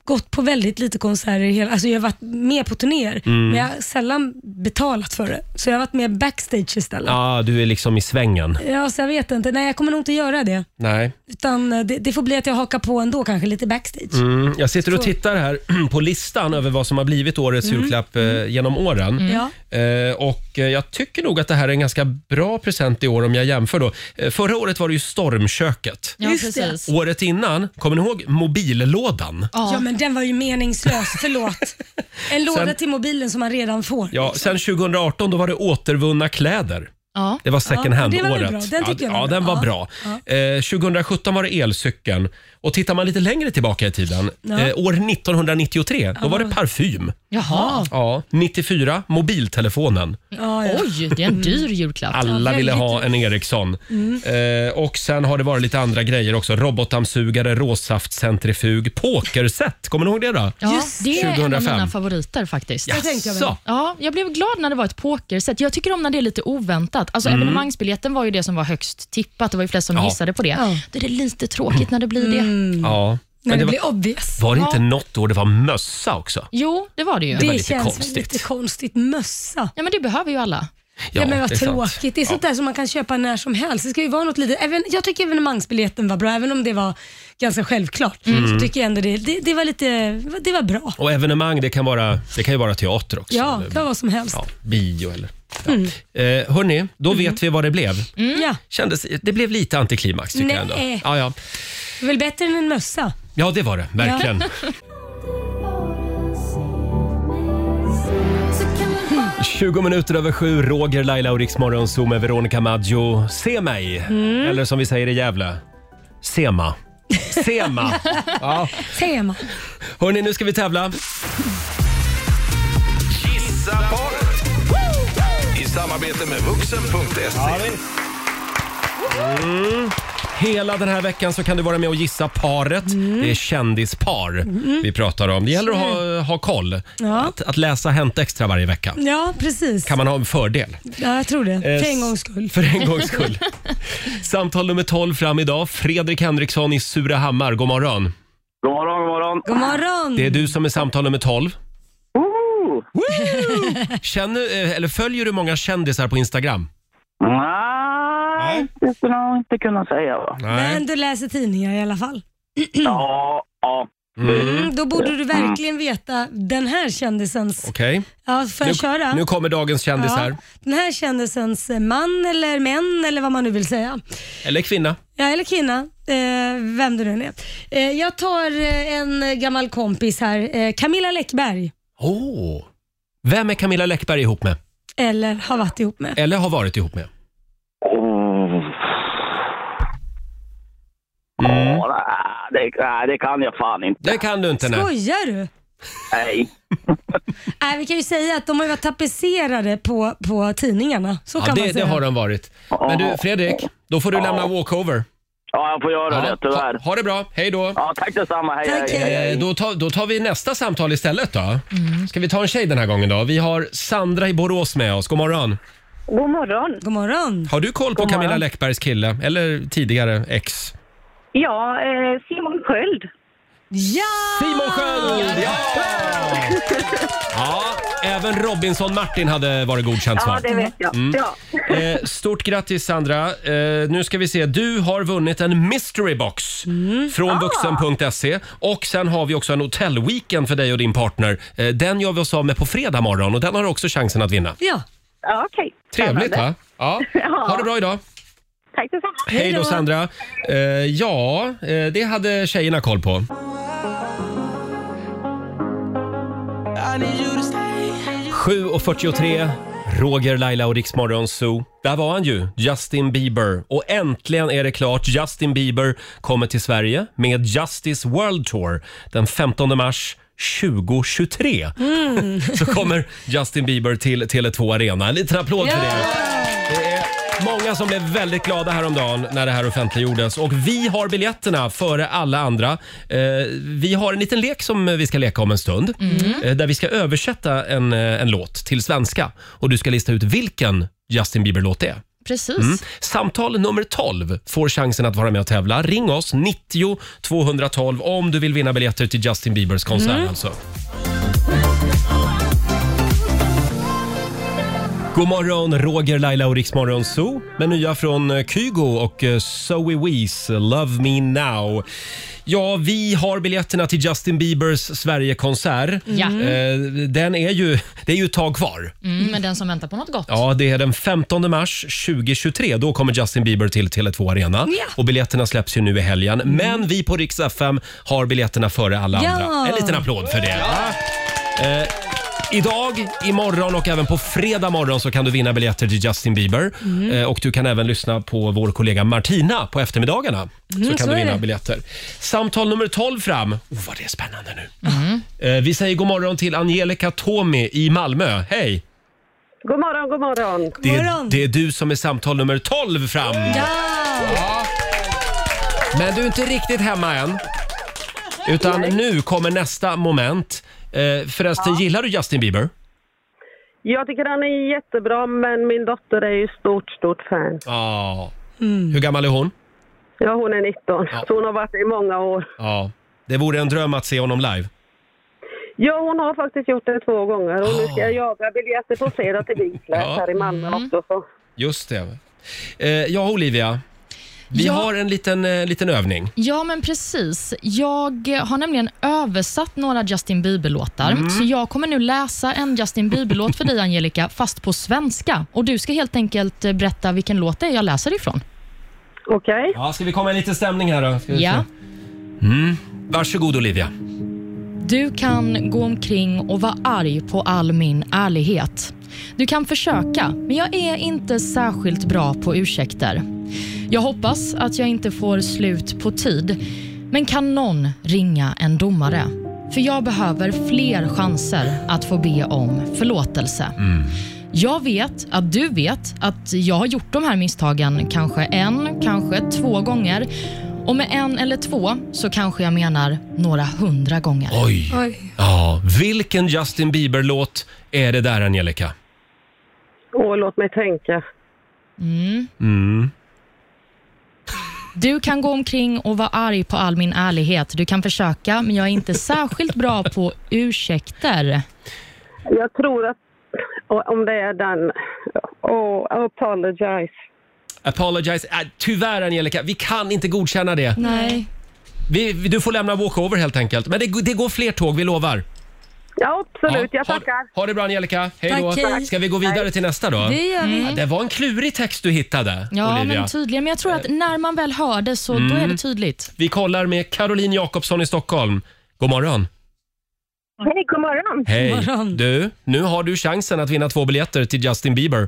S3: gått på väldigt lite konserter. i hela- Alltså jag har varit med på turnéer,
S1: Mm.
S3: men jag har sällan betalat för det. Så jag har varit med backstage istället. Ja.
S1: Ja, du är liksom i svängen.
S3: så jag vet inte. Nej, jag kommer nog inte göra det.
S1: Nej.
S3: Utan eh, det, det får bli att jag hakar på ändå kanske, lite backstage.
S1: Mm, jag sitter och tittar här på listan över vad som har blivit årets
S3: Mm.
S1: julklapp eh, genom åren.
S3: Ja.
S1: Eh, och eh, jag tycker nog att det här är en ganska bra present i år om jag jämför då. Eh, förra året var det ju stormköket.
S2: Ja,
S3: Just det.
S2: precis.
S1: Året innan, kommer ni ihåg mobillådan?
S3: Ja. men den var ju meningslös. Förlåt. En låda
S1: Sen-
S3: till mobilen som man redan får.
S1: Ja, sen 2018 då var det återvunna kläder.
S2: Ja.
S1: Det var
S3: Ja,
S1: second hand-året.
S3: det var väl bra. Den tycker jag
S1: ja,
S3: var
S1: ja,
S3: bra.
S1: den var
S3: Ja.
S1: bra. Eh, 2017 var det elcykeln. Och tittar man lite längre tillbaka i tiden,
S3: Ja.
S1: eh, år 1993, då var det parfym.
S2: Jaha.
S1: Ja, 94, mobiltelefonen.
S3: Ja, ja.
S2: Oj, det är en dyr julklapp.
S1: Mm. Alla
S3: Ja,
S1: ville
S3: väldigt Mm.
S1: ha en Ericsson. Eh, och sen har det varit lite andra grejer också. Robotdammsugare, råsaftcentrifug, pokerset. Kommer ni ihåg det då?
S2: Ja,
S3: Just
S2: det är en av
S1: 2005.
S2: mina favoriter faktiskt.
S3: tänkte jag väl.
S1: Jaså?
S2: Ja, jag blev glad när det var ett pokerset. Jag tycker om när det är lite oväntat. annat. Alltså Evenemangsbiljetten var ju det som var högst tippat. Det var ju flest som
S1: Mm. Ja. Mm.
S2: gissade på det.
S3: Ja.
S2: Då är det lite tråkigt när det blir det.
S1: Ja.
S3: När
S1: Men
S3: Mm. det,
S1: det var,
S3: blir obvious.
S1: var det
S2: Ja.
S1: inte något år det var mössa också?
S2: Jo, det var det ju.
S1: Det- var
S3: Det
S1: lite
S3: känns
S1: konstigt.
S3: lite konstigt. Mössa.
S2: Ja, men det behöver ju alla.
S3: Ja, men vad
S1: det är sant.
S3: tråkigt. Det är sånt där som man kan köpa när som helst. Det ska ju vara något litet. Även, jag tycker evenemangsbiljetten var bra, även om det var ganska självklart.
S1: Mm.
S3: Så tycker jag ändå det, det, det var lite, det var bra.
S1: Och evenemang, det kan, vara, det kan ju vara teater också.
S3: Ja, Mm.
S1: Eller-
S3: det var vad som helst.
S1: ja, bio eller... Ja. Eh, hörni, då
S3: Mm.
S1: vet vi vad det blev.
S3: Ja.
S1: Kändes, det blev lite antiklimax tycker jag ändå.
S3: Mm. Nej.
S1: Ja, ja.
S3: Det är väl bättre än en mössa?
S1: ja, det var det. Verkligen.
S8: Mm.
S1: 20 minuter över sju, Roger, Laila och Riksmorgon Zoom med Veronica Maggio. Se mig!
S3: Mm.
S1: Eller som vi säger i Gävle, Sema. Sema! ja.
S3: Tema.
S1: Hörni, nu ska vi tävla.
S4: Gissa paret. I samarbete med vuxen.se.
S1: Hela den här veckan så kan du vara med och gissa paret.
S3: Mm.
S1: Det är kändispar vi pratar om. Det gäller att ha, ha koll.
S3: Ja.
S1: Att, att läsa Hänt Extra varje vecka.
S3: Ja, precis.
S1: Kan man ha en fördel.
S3: Ja, jag tror det. För
S1: s-
S3: en gångs skull.
S1: För en gångs skull. Samtal nummer 12 fram idag. Fredrik Henriksson i Surahammar. God morgon.
S5: God morgon, god morgon.
S3: God morgon.
S1: Det är du som är samtal nummer 12.
S5: Woo!
S1: Känner, eh, eller följer du många kändisar på Instagram?
S5: Nej, det skulle jag nog inte kunna säga. Va?
S3: Men du läser tidningar i alla fall.
S5: Ja, ja.
S1: Mm.
S3: Mm, då borde du verkligen veta den här kändisens...
S1: Okej.
S3: Ja, får jag köra?
S1: Nu, nu kommer dagens kändisar.
S3: Ja, den här kändisens man eller män eller vad man nu vill säga.
S1: Eller kvinna.
S3: Ja, eller kvinna, eh, vem det nu är. Eh, jag tar eh, en gammal kompis här, eh, Camilla Läckberg,
S1: Åh! Vem är Camilla Läckberg ihop med?
S3: eller har varit ihop med.
S1: Eller har varit ihop med?
S5: Oh.
S1: Mm.
S5: Ja, Det, nej, det kan jag fan inte.
S1: Det kan du inte. Nej.
S3: Skojar du?
S5: Nej.
S3: Nej, vi kan ju säga att de har ju varit tapetserade på, på tidningarna. Så
S1: Ja,
S3: kan
S1: det,
S3: man
S1: det
S3: säga.
S1: har de varit. Men du, Fredrik, då får du lämna walkover.
S5: Ja, jag får göra det
S1: ha,
S5: tyvärr.
S1: ha det bra. Hej då.
S5: Ja, tack detsamma. Hej,
S3: Tack,
S5: hej,
S3: hej.
S5: hej.
S1: Eh, Då tar, då tar vi nästa samtal istället då.
S3: Mm.
S1: Ska vi ta en tjej den här gången då? Vi har Sandra i Borås med oss. God morgon.
S9: God morgon.
S3: God morgon.
S1: Har du koll på Camilla Läckbergs kille? Eller tidigare ex?
S9: Ja, eh, Simon Sköld.
S3: Ja!
S1: Simon Sköld! Ja! ja! Även Robinson-Martin hade varit godkänt svar.
S9: Ja, det vet jag. Ja.
S1: Eh, stort grattis Sandra. Eh, nu ska vi se. Du har vunnit en mystery box
S9: Mm. Ah.
S1: från vuxen.se. Och sen har vi också en hotellweekend för dig och din partner. Eh, den gör vi oss av med på fredag morgon och den har du också chansen att vinna.
S3: Ja,
S9: Ja, okej.
S1: Trevligt
S9: Spännande.
S1: va? Ja. Ha det bra idag.
S9: Tack detsamma.
S1: Hej då Sandra. Eh, ja, eh, det hade tjejerna koll på.
S7: I need you to stay.
S1: 7.43, Roger, Laila och Riksmorgon Zoo. Där var han ju, Justin Bieber. Och äntligen är det klart. Justin Bieber kommer till Sverige med Justice World Tour den 15 mars 2023. Så kommer Justin Bieber till Tele2 Arena. En liten applåd för det. Det är Många som blev väldigt glada häromdagen när det här offentliggjordes och vi har biljetterna före alla andra. Eh, vi har en liten lek som vi ska leka om en stund eh, där vi ska översätta en, eh, en låt till svenska och du ska lista ut vilken Justin Bieber-låt det är.
S2: Precis.
S1: Mm. Samtal nummer 12 får chansen att vara med och tävla. Ring oss 90 212 om du vill vinna biljetter till Justin Biebers konsert. Alltså. God morgon, Roger, Laila och Riksmorgon Zoo med nya från eh, Kygo och eh, Zoe Wees, Love Me Now. Ja, vi har biljetterna till Justin Biebers Sverigekonsert.
S2: Ja.
S1: Eh, Den är ju, det är ju ett tag kvar.
S2: Mm, men den som väntar på något gott.
S1: Ja, det är den 15 mars 2023. Då kommer Justin Bieber till Tele2 Arena.
S3: Ja. Mm.
S1: Och biljetterna släpps ju nu i helgen. Men vi på Rix FM har biljetterna före alla
S3: Ja.
S1: andra. En liten applåd för det. Eh, Idag, imorgon och även på fredag morgon så kan du vinna biljetter till Justin Bieber.
S3: Mm.
S1: Eh, och du kan även lyssna på vår kollega Martina på eftermiddagarna. så kan
S3: Mm, så
S1: du
S3: är
S1: vinna
S3: det.
S1: biljetter. Samtal nummer 12 fram. Oh, vad det är spännande nu.
S3: Mm.
S1: Eh, vi säger god morgon till Angelica Tomi i Malmö. Hej!
S9: God morgon, god morgon.
S1: Det är,
S3: morgon.
S1: det är du som är samtal nummer 12 fram. Men du är inte riktigt hemma än. Utan nu kommer nästa moment. Eh, förresten, gillar du Justin Bieber?
S9: Jag tycker han är jättebra, men min dotter är ju stort, stort fan.
S1: Ja. Hur gammal är hon?
S9: Ja, hon är 19,
S1: Ja.
S9: så hon har varit det i många år.
S1: Ja. Det vore en dröm att se honom live.
S9: Ja, hon har faktiskt gjort det två gånger och nu
S1: Ah.
S9: ska jag jaga biljetter på fredag till Vislöv
S1: Ja. Mm.
S9: här i Malmö också. Så.
S1: Just det. Eh, ja, Olivia. Vi
S2: Ja.
S1: har en liten, eh, liten övning.
S2: Ja, men precis. Jag har nämligen översatt några Justin Bieber-låtar, så jag kommer nu läsa en Justin Bieber-låt för dig, Angelica, fast på svenska. Och Du ska helt enkelt eh, berätta vilken låt det är jag läser ifrån.
S9: Okej?
S1: Ja, ska vi komma i lite stämning här då? Ska vi
S2: Ja.
S1: se. Mm. Varsågod Olivia.
S2: Du kan gå omkring och vara arg på all min ärlighet. Du kan försöka, men jag är inte särskilt bra på ursäkter. Jag hoppas att jag inte får slut på tid, men kan någon ringa en domare? För jag behöver fler chanser att få be om förlåtelse. Jag vet att du vet att jag har gjort de här misstagen kanske en, kanske två gånger. Och med en eller två så kanske jag menar några hundra gånger.
S1: Oj.
S3: Oj.
S1: Ja, vilken Justin Bieber-låt är det där Angelica?
S9: Åh, låt mig tänka.
S2: Du kan gå omkring och vara arg på all min ärlighet. Du kan försöka, men jag är inte särskilt bra på ursäkter.
S9: Jag tror att och om det är den... Åh, apologize.
S1: Apologize. Äh, tyvärr Angelica, vi kan inte godkänna det.
S2: Nej.
S1: Vi, vi- du får lämna walkover helt enkelt. Men det, det går fler tåg, vi lovar.
S9: Ja, absolut.
S1: Ja,
S9: jag
S1: ha-
S9: tackar.
S1: Ha, det bra Angelica. Hej då.
S3: Tack, hej.
S1: Ska vi gå vidare till nästa då?
S3: Det gör vi.
S1: Ja, Mm. det var en klurig text du hittade,
S2: Ja,
S1: Olivia.
S2: men tydligen. Men jag tror att när man väl hör det så då är det tydligt.
S1: Vi kollar med Caroline Jakobsson i Stockholm. God morgon.
S9: Hej, god morgon.
S1: Hej.
S3: God morgon.
S1: Du, nu har du chansen att vinna två biljetter till Justin Bieber.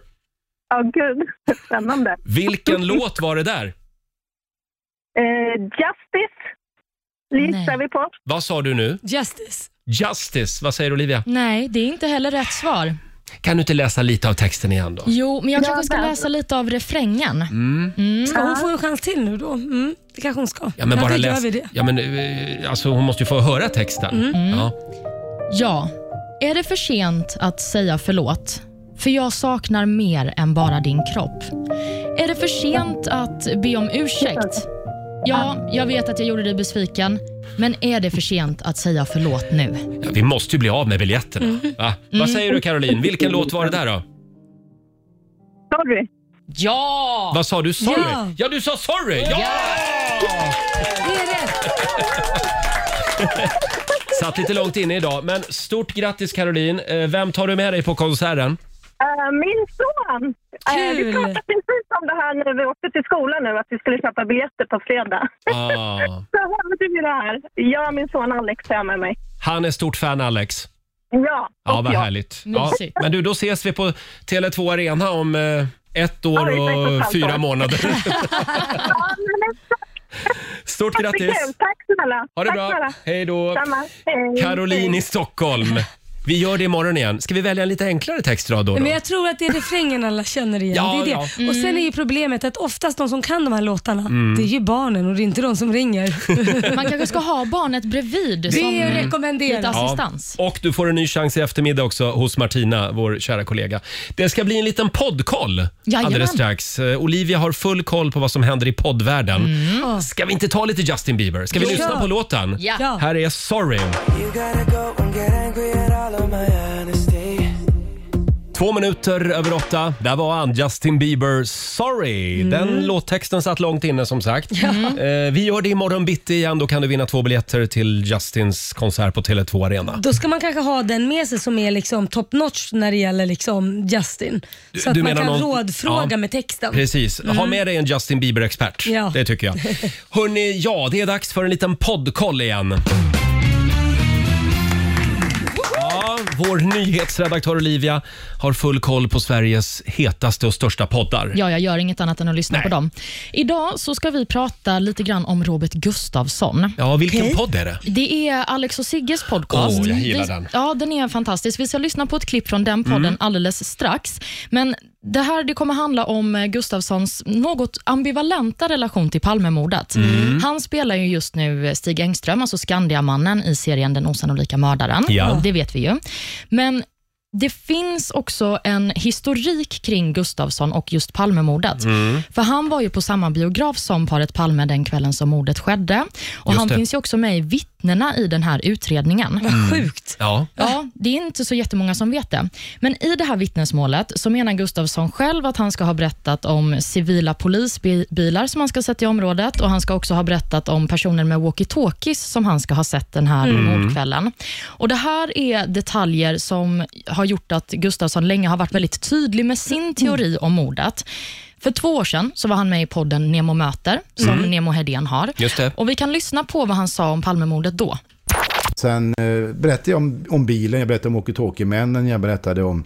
S9: Ja, gud. Spännande.
S1: Vilken låt var det där?
S9: Eh, justice
S2: Nej.
S9: gissar vi på.
S1: Vad sa du nu?
S3: Justice.
S1: Justice. Vad säger Olivia?
S2: Nej, det är inte heller rätt svar.
S1: Kan du inte läsa lite av texten igen då?
S2: Jo, men jag kanske ska
S9: men-
S2: läsa lite av refrängen.
S3: Ska hon få en chans till nu då? Mm, det kanske hon ska.
S1: Ja, men bara
S3: då
S1: läs.
S3: gör vi det. Mm.
S1: Ja, men, eh, alltså, hon måste ju få höra texten. Ja.
S2: Ja. Är det för sent att säga förlåt? För jag saknar mer än bara din kropp. Är det för sent att be om ursäkt? Ja, jag vet att jag gjorde dig besviken. Men är det för sent att säga förlåt nu?
S1: Ja, vi måste ju bli av med biljetterna. Va? Vad säger du Caroline? Vilken låt var det där då?
S9: Sorry.
S2: Ja!
S1: Vad sa du? Sorry? Ja,
S3: Ja.
S1: du sa sorry! Ja!
S3: Det är rätt.
S1: Satt lite långt inne idag, men stort grattis Caroline. Eh, Vem tar du med dig på konserten?
S9: Eh, min son. eh,
S3: Kul.
S9: vi pratade precis om det här när vi åkte till skolan nu, att vi skulle köpa biljetter på fredag.
S1: Ah,
S9: Så hörde du det här. Jag och min son Alex är med mig.
S1: han är stort fan Alex.
S9: Ja,
S1: Ja,
S9: och
S1: vad
S9: jag.
S1: härligt. Ja,
S2: Mysigt.
S1: men du, då ses vi på Tele2 Arena om eh, ett
S9: Ja,
S1: år
S9: exakt, och ett
S1: och
S9: halvt
S1: fyra
S9: år.
S1: månader.
S9: Ja, men exakt.
S1: Stort
S9: Det är kul.
S1: grattis!
S9: Tack snälla.
S1: Ha det
S9: Tack
S1: bra!
S9: snälla.
S1: Hej då!
S9: Samma. Hej.
S1: Caroline i Stockholm. Vi gör det imorgon igen. Ska vi välja en lite enklare textrad då? då?
S3: Men jag tror att det är refrängen alla känner igen.
S1: Ja,
S3: det är det.
S1: ja. Mm.
S3: Och Sen är
S2: Mm.
S3: ju problemet att oftast de som kan de här låtarna, det är ju barnen och det är inte de som ringer.
S2: Man kanske ska ha barnet bredvid
S3: Det är
S2: som
S3: ju
S2: lite
S3: rekommenderat.
S2: assistans.
S1: Och du får en ny chans i eftermiddag också hos Martina, vår kära kollega. Det ska bli en liten poddkoll
S2: Jajamän.
S1: alldeles strax. Eh, Olivia har full koll på vad som händer i poddvärlden. Mm. Ska vi inte ta lite Justin Bieber? Ska vi
S3: Jo.
S1: lyssna
S3: Ja.
S1: på låten?
S2: Ja.
S3: Ja.
S1: Här är Sorry.
S7: You gotta go and get angry at all of my honesty.
S1: Två minuter över åtta. Där var han, Justin Bieber. Sorry. Den låttexten satt långt inne som sagt. Eh, vi gör det imorgon bitti igen. Då kan du vinna två biljetter till Justins konsert på Tele2 Arena.
S3: Då ska man kanske ha den med sig som är liksom top notch när det gäller liksom Justin. Så
S1: du
S3: att man
S1: menar
S3: kan
S1: någon-
S3: rådfråga
S1: Ja.
S3: med texten.
S1: Precis. Ha med dig en Justin Bieber-expert.
S3: Ja.
S1: Det tycker jag. Hörni, ja, det är dags för en liten poddkoll igen. Ja, vår nyhetsredaktör Olivia har full koll på Sveriges hetaste och största poddar.
S2: Ja, jag gör inget annat än att lyssna
S1: Nej.
S2: på dem. Idag så ska vi prata lite grann om Robert Gustafsson.
S1: Ja, vilken podd är det?
S2: Det är Alex och Sigges podcast.
S1: Åh, jag gillar
S2: vi,
S1: den. Mm.
S2: Ja, den är fantastisk. Vi ska lyssna på ett klipp från den podden alldeles strax. Men det här det kommer handla om eh, Gustafssons något ambivalenta relation till Palmemordet.
S1: Mm.
S2: Han spelar ju just nu eh, Stig Engström, alltså Skandiamannen i serien Den osannolika mördaren.
S1: Ja.
S2: Det vet vi ju. Men Det finns också en historik kring Gustafsson och just Palmemordet.
S1: Mm.
S2: För han var ju på samma biograf som paret Palme den kvällen som mordet skedde. Och
S1: Just
S2: han
S1: det.
S2: finns ju också med i vittnena i den här utredningen.
S3: Vad sjukt.
S1: Ja.
S2: Ja, det är inte så jättemånga som vet det. Men i det här vittnesmålet så menar Gustafsson själv att han ska ha berättat om civila polisbilar som han ska ha sett i området och han ska också ha berättat om personer med walkie-talkies som han ska ha sett den här
S1: Mm.
S2: mordkvällen. Och det här är detaljer som har gjort att Gustafsson länge har varit väldigt tydlig
S1: Mm.
S2: med sin teori om mordet. För två år sedan så var han med i podden Nemo möter, som Nemo Hedén har.
S1: Mm. Just det.
S2: Och Vi kan lyssna på vad han sa om Palmemordet då.
S8: Sen eh, berättade jag om, om bilen, jag berättade om walkie-talkie-männen, jag berättade om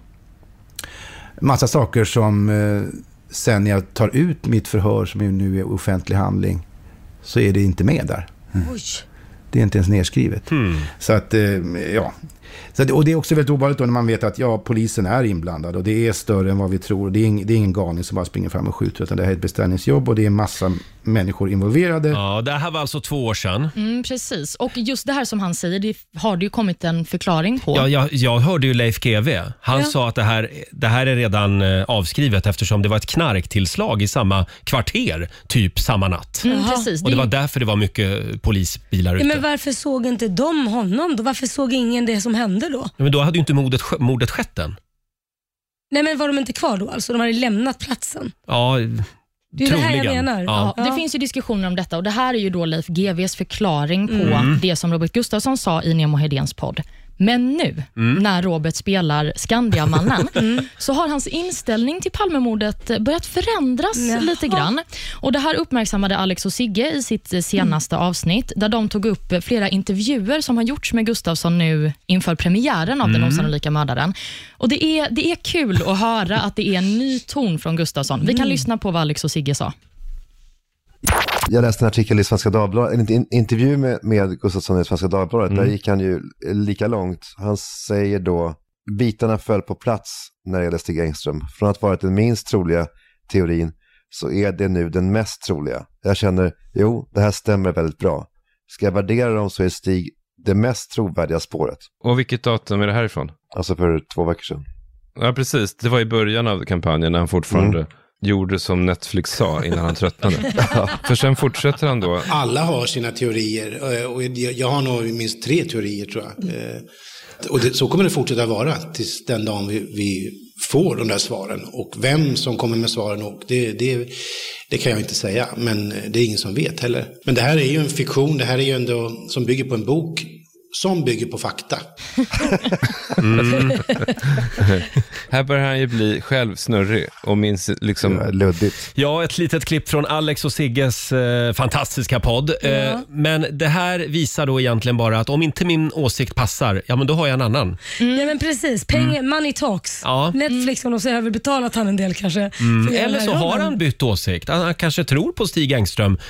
S8: massa saker som eh, sen när jag tar ut mitt förhör som ju nu är offentlig handling så är det inte med där. Mm.
S3: Oj.
S8: Det är inte ens nedskrivet. Så att, eh, ja. Så att, och det är också väldigt ovanligt då när man vet att ja, polisen är inblandad och det är större än vad vi tror. Det är, ing, det är ingen galning som bara springer fram och skjuter utan det här är ett beställningsjobb och det är massa människor involverade.
S1: Ja, det här var alltså två år sedan.
S2: Mm, precis. Och just det här som han säger, det har det ju kommit en förklaring på.
S1: Ja, jag, jag hörde ju Leif GW. Han
S3: Ja.
S1: sa att det här, det här är redan eh, avskrivet eftersom det var ett knarktillslag i samma kvarter, typ samma natt.
S2: Mm, precis.
S1: Och det
S2: Det-
S1: var därför det var mycket polisbilar
S3: Ja,
S1: ute.
S3: men varför såg inte de honom då? Varför såg ingen det som hände då?
S1: Ja, Men då hade ju inte mordet, sk- mordet skett än.
S3: Nej men var de inte kvar då alltså? De hade lämnat platsen.
S1: Ja,
S3: Det är ju det här jag
S1: troligen.
S3: menar.
S1: Ja.
S2: Ja, det finns ju diskussioner om detta och det här är ju då Leif GWs förklaring på det som Robert Gustafsson sa i Nemo Hedéns podd. Men nu, när Robert spelar Skandiamannen, så har hans inställning till Palmemordet börjat förändras
S3: Jaha.
S2: lite grann. Och Det här uppmärksammade Alex och Sigge i sitt eh, senaste avsnitt, där de tog upp eh, flera intervjuer som har gjorts med Gustafsson nu inför premiären av Den osannolika mördaren. Och det är, det är kul att höra att det är en ny ton från Gustafsson. Vi kan lyssna på vad Alex och Sigge sa.
S10: Jag läste en artikel i Svenska Dagbladet, en in- intervju med, med Gustafsson i Svenska Dagbladet. Där gick han ju lika långt. Han säger då, bitarna föll på plats när det gäller Stig Engström. Från att varit den minst troliga teorin så är det nu den mest troliga. Jag känner, jo, det här stämmer väldigt bra. Ska jag värdera dem så är Stig det mest trovärdiga spåret.
S11: Och vilket datum är det här ifrån?
S10: Alltså för två veckor sedan.
S11: Ja, precis. Det var i början av kampanjen när han fortfarande gjorde som Netflix sa innan han tröttnade. För sen fortsätter han då.
S8: Alla har sina teorier eh, och jag jag har nog minst tre teorier tror jag. Eh, Och det, så kommer det fortsätta vara tills den dagen vi, vi får de där svaren. Och vem som kommer med svaren, och det, det, det kan jag inte säga, men det är ingen som vet heller. Men det här är ju en fiktion, det här är ju ändå som bygger på en bok som bygger på fakta.
S11: Mm. Här börjar han ju bli själv snurrig och minns liksom...
S10: Luddigt.
S1: Ja, ett litet klipp från Alex och Sigges eh, fantastiska podd. Eh, men det här visar då egentligen bara att om inte min åsikt passar, ja men då har jag en annan.
S3: Ja men precis, pengar, money talks.
S1: Mm. Ja. Mm.
S3: Netflix om de säger överbetalat han en del kanske. för att göra
S1: Eller
S3: den
S1: så
S3: här
S1: har
S3: rollen.
S1: han bytt åsikt. Han, han kanske tror på Stig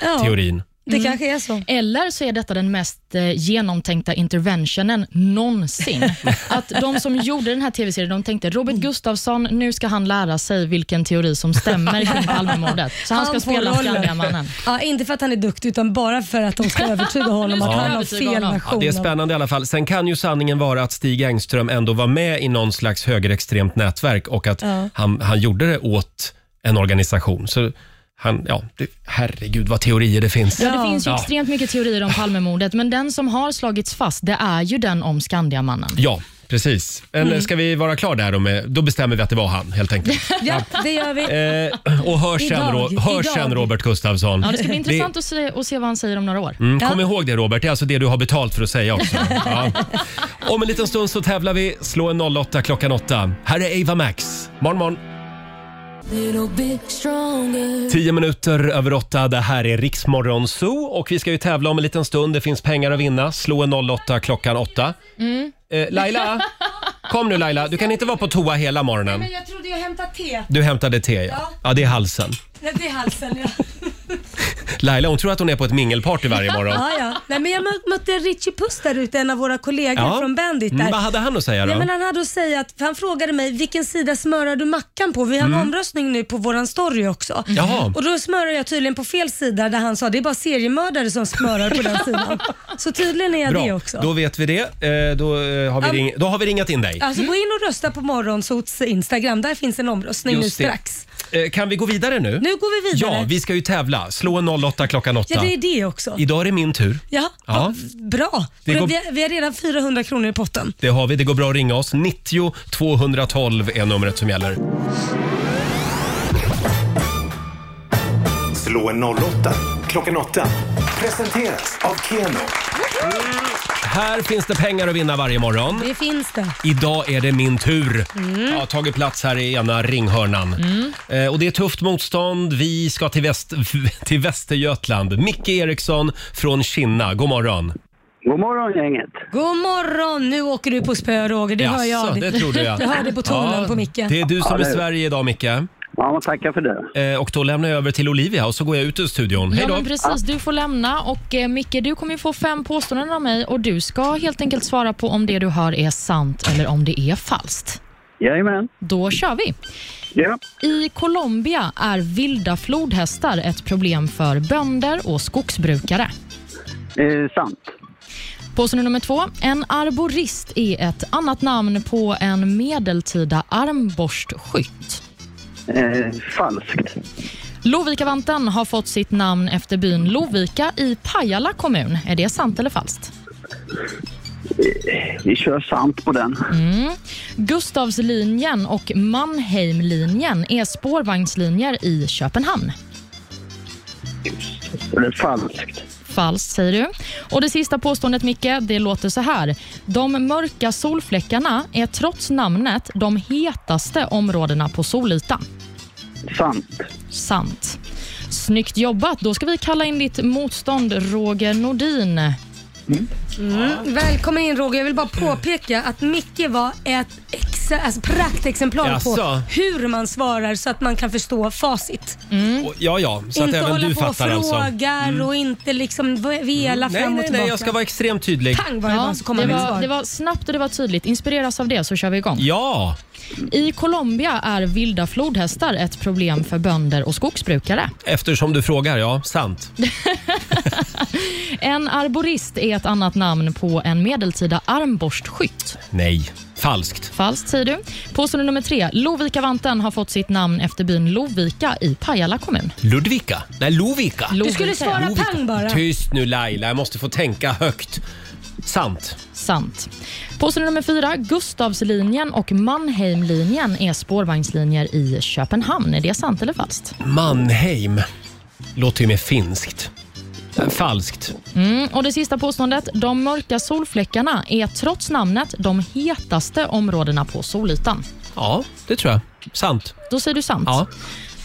S1: Engström-teorin.
S3: Det kanske är så.
S2: Eller så är detta den mest eh, genomtänkta interventionen någonsin. Att de som gjorde den här tv-serien de tänkte Robert Gustafsson, nu ska han lära sig vilken teori som stämmer kring Palmemordet. Så han ska
S3: Han får
S2: spela
S3: rollen.
S2: Skandiamannen.
S3: Ja, inte för att han är duktig utan bara för att de ska övertyga honom
S2: Nu
S3: att
S2: ska
S3: han
S2: de
S3: har
S2: övertyga
S3: fel
S2: honom.
S3: version.
S1: Ja,
S2: Ja,
S1: det är
S3: av-
S1: spännande i alla fall. Sen kan ju sanningen vara att Stig Engström ändå var med i någon slags högerextremt nätverk och att han, han gjorde det åt en organisation. Så han, ja, det, herregud vad teorier det finns.
S2: Ja, det finns ju
S1: Ja.
S2: extremt mycket teorier om Palmemordet, men den som har slagits fast, det är ju den om Skandiamannen.
S1: Ja, precis. Men
S2: Mm.
S1: ska vi vara klar där då? Med, då bestämmer vi att det var han helt enkelt.
S3: Ja, det gör vi.
S1: Eh, och hör sen,
S3: Idag,
S1: Ro- hör
S3: idag.
S1: sen Robert Gustafsson.
S2: Ja, det ska bli intressant att se, att se vad han säger om några år.
S1: Mm, kom ihåg det Robert, det är alltså det du har betalt för att säga också. Ja. Om en liten stund så tävlar vi. Slå en 08 klockan 8. Här är Ava Max. Morgon, morgon. Tio minuter över åtta. Det här är Riksmorgon Zoo och vi ska ju tävla om en liten stund. Det finns pengar att vinna. Slå en 08 klockan 8.
S3: Mm.
S1: Eh, Laila, kom nu Laila. Du kan inte vara på toa hela morgonen.
S3: Jag trodde jag hämtade te.
S1: Du hämtade te ja. Ja, det är halsen.
S3: Nej, det är halsen. Ja.
S1: Laila hon tror att hon är på ett mingelparty varje morgon.
S3: Ja, ja. Nej, men jag mö- mötte Richie Puss där ute, en av våra kollegor
S1: Ja.
S3: från Bandit. Där.
S1: Mm, vad hade han att säga då?
S3: Nej, men han hade att säga att för han frågade mig vilken sida smörar du mackan på? Vi har en
S1: Mm.
S3: omröstning nu på våran story också.
S1: Jaha.
S3: Och då smörade jag tydligen på fel sida där han sa det är bara seriemördare som smörar på den sidan. Så tydligen är jag det
S1: Bra,
S3: också.
S1: då vet vi det. Eh, Då, eh, har vi,
S3: Ja,
S1: ring, då har vi ringat in dig.
S3: Alltså gå in och rösta på Morgonsots Instagram. Där finns en omröstning nu
S1: Just det.
S3: strax.
S1: Eh, Kan vi gå vidare nu?
S3: Nu går vi vidare.
S1: Ja, vi ska ju tävla. Slå en 08 klockan 8.
S3: Ja, det är det också.
S1: Idag är det min tur.
S3: Ja,
S1: Ja.
S3: vad bra.
S1: Det
S3: Vi,
S1: går-
S3: vi, har, vi har redan 400 kronor i potten.
S1: Det har vi. Det går bra att ringa oss. 90 212 är numret som gäller.
S12: Slå en 08 klockan 8. Presenteras av Keno.
S1: Här finns det pengar att vinna varje morgon.
S3: Det finns det.
S1: Idag är det min tur.
S3: Mm.
S1: Jag har tagit plats här i ena ringhörnan. Eh, och det är tufft motstånd. Vi ska till, väst, till Västergötland. Micke Eriksson från Kinna. God morgon.
S13: God morgon gänget.
S3: God morgon! Nu åker du på spö Roger, det hör jag. av
S1: Jaså,
S3: dig.
S1: det trodde jag.
S3: Jag hörde på tonen
S1: Ja,
S3: på Micke.
S1: Det är du som
S3: Ja,
S1: är
S3: det-
S1: Sverige idag, Micke.
S13: Ja, tackar för det.
S1: Eh, och då lämnar jag över till Olivia och så går jag ut ur studion. Hej
S2: Ja,
S1: då.
S2: men precis. Du får lämna. Och eh, Micke, du kommer ju få fem påståenden av mig och du ska helt enkelt svara på om det du hör är sant eller om det är falskt.
S13: Jajamän.
S2: Då kör vi.
S13: Ja.
S2: I Colombia är vilda flodhästar ett problem för bönder och skogsbrukare.
S13: Eh, sant.
S2: Påstående nummer två. En arborist är ett annat namn på en medeltida armborstskytt.
S13: Eh, falskt.
S2: Lovikkavanten har fått sitt namn efter byn Lovika i Pajala kommun. Är det sant eller falskt?
S13: Eh, vi kör sant på den.
S2: Mm. Gustavslinjen och Mannheimlinjen är spårvagnslinjer i Köpenhamn.
S13: Det är falskt.
S2: Falskt, säger du. Och Det sista påståendet, Micke, det låter så här. De mörka solfläckarna är trots namnet de hetaste områdena på solytan.
S13: Sant.
S2: Sant. Snyggt jobbat. Då ska vi kalla in ditt motstånd, Roger Nordin.
S3: Mm. Välkommen in Roger. Jag vill bara påpeka att Micke var ett ex- alltså praktexemplar på
S1: Jaså?
S3: hur man svarar så att man kan förstå facit.
S1: Och- Ja, ja,
S3: inte
S1: så att även
S3: hålla
S1: du
S3: på och
S1: fattar alltså.
S3: frågar och inte liksom ve- vela
S1: Nej,
S3: fram och
S1: nej,
S3: tillbaka.
S1: nej, jag ska vara extremt tydlig.
S3: Pang var det bara så kom
S2: det,
S3: han med ett
S2: var,
S3: svar.
S2: det var snabbt och det var tydligt. Inspireras av det så kör vi igång.
S1: Ja!
S2: I Colombia är vilda flodhästar ett problem för bönder och skogsbrukare.
S1: Eftersom du frågar, ja. Sant.
S2: En arborist är ett annat namn på en medeltida armborstskytt.
S1: Nej. Falskt.
S2: Falskt, säger du. Påstående nummer tre. Lovikkavanten har fått sitt namn efter byn Lovika i Pajala kommun.
S1: Ludvika? Nej, Lovika.
S2: Du skulle svara
S1: Lovika.
S2: pang bara.
S1: Tyst nu Laila, jag måste få tänka högt. Sant.
S2: Sant. Påstående nummer fyra. Gustavslinjen och Mannheimlinjen är spårvagnslinjer i Köpenhamn. Är det sant eller falskt?
S1: Mannheim. Låter ju mer finskt. Äh, Falskt.
S2: Mm, och Det sista påståendet. De mörka solfläckarna är trots namnet de hetaste områdena på solytan.
S1: Ja, det tror jag. Sant.
S2: Då säger du sant.
S1: Ja.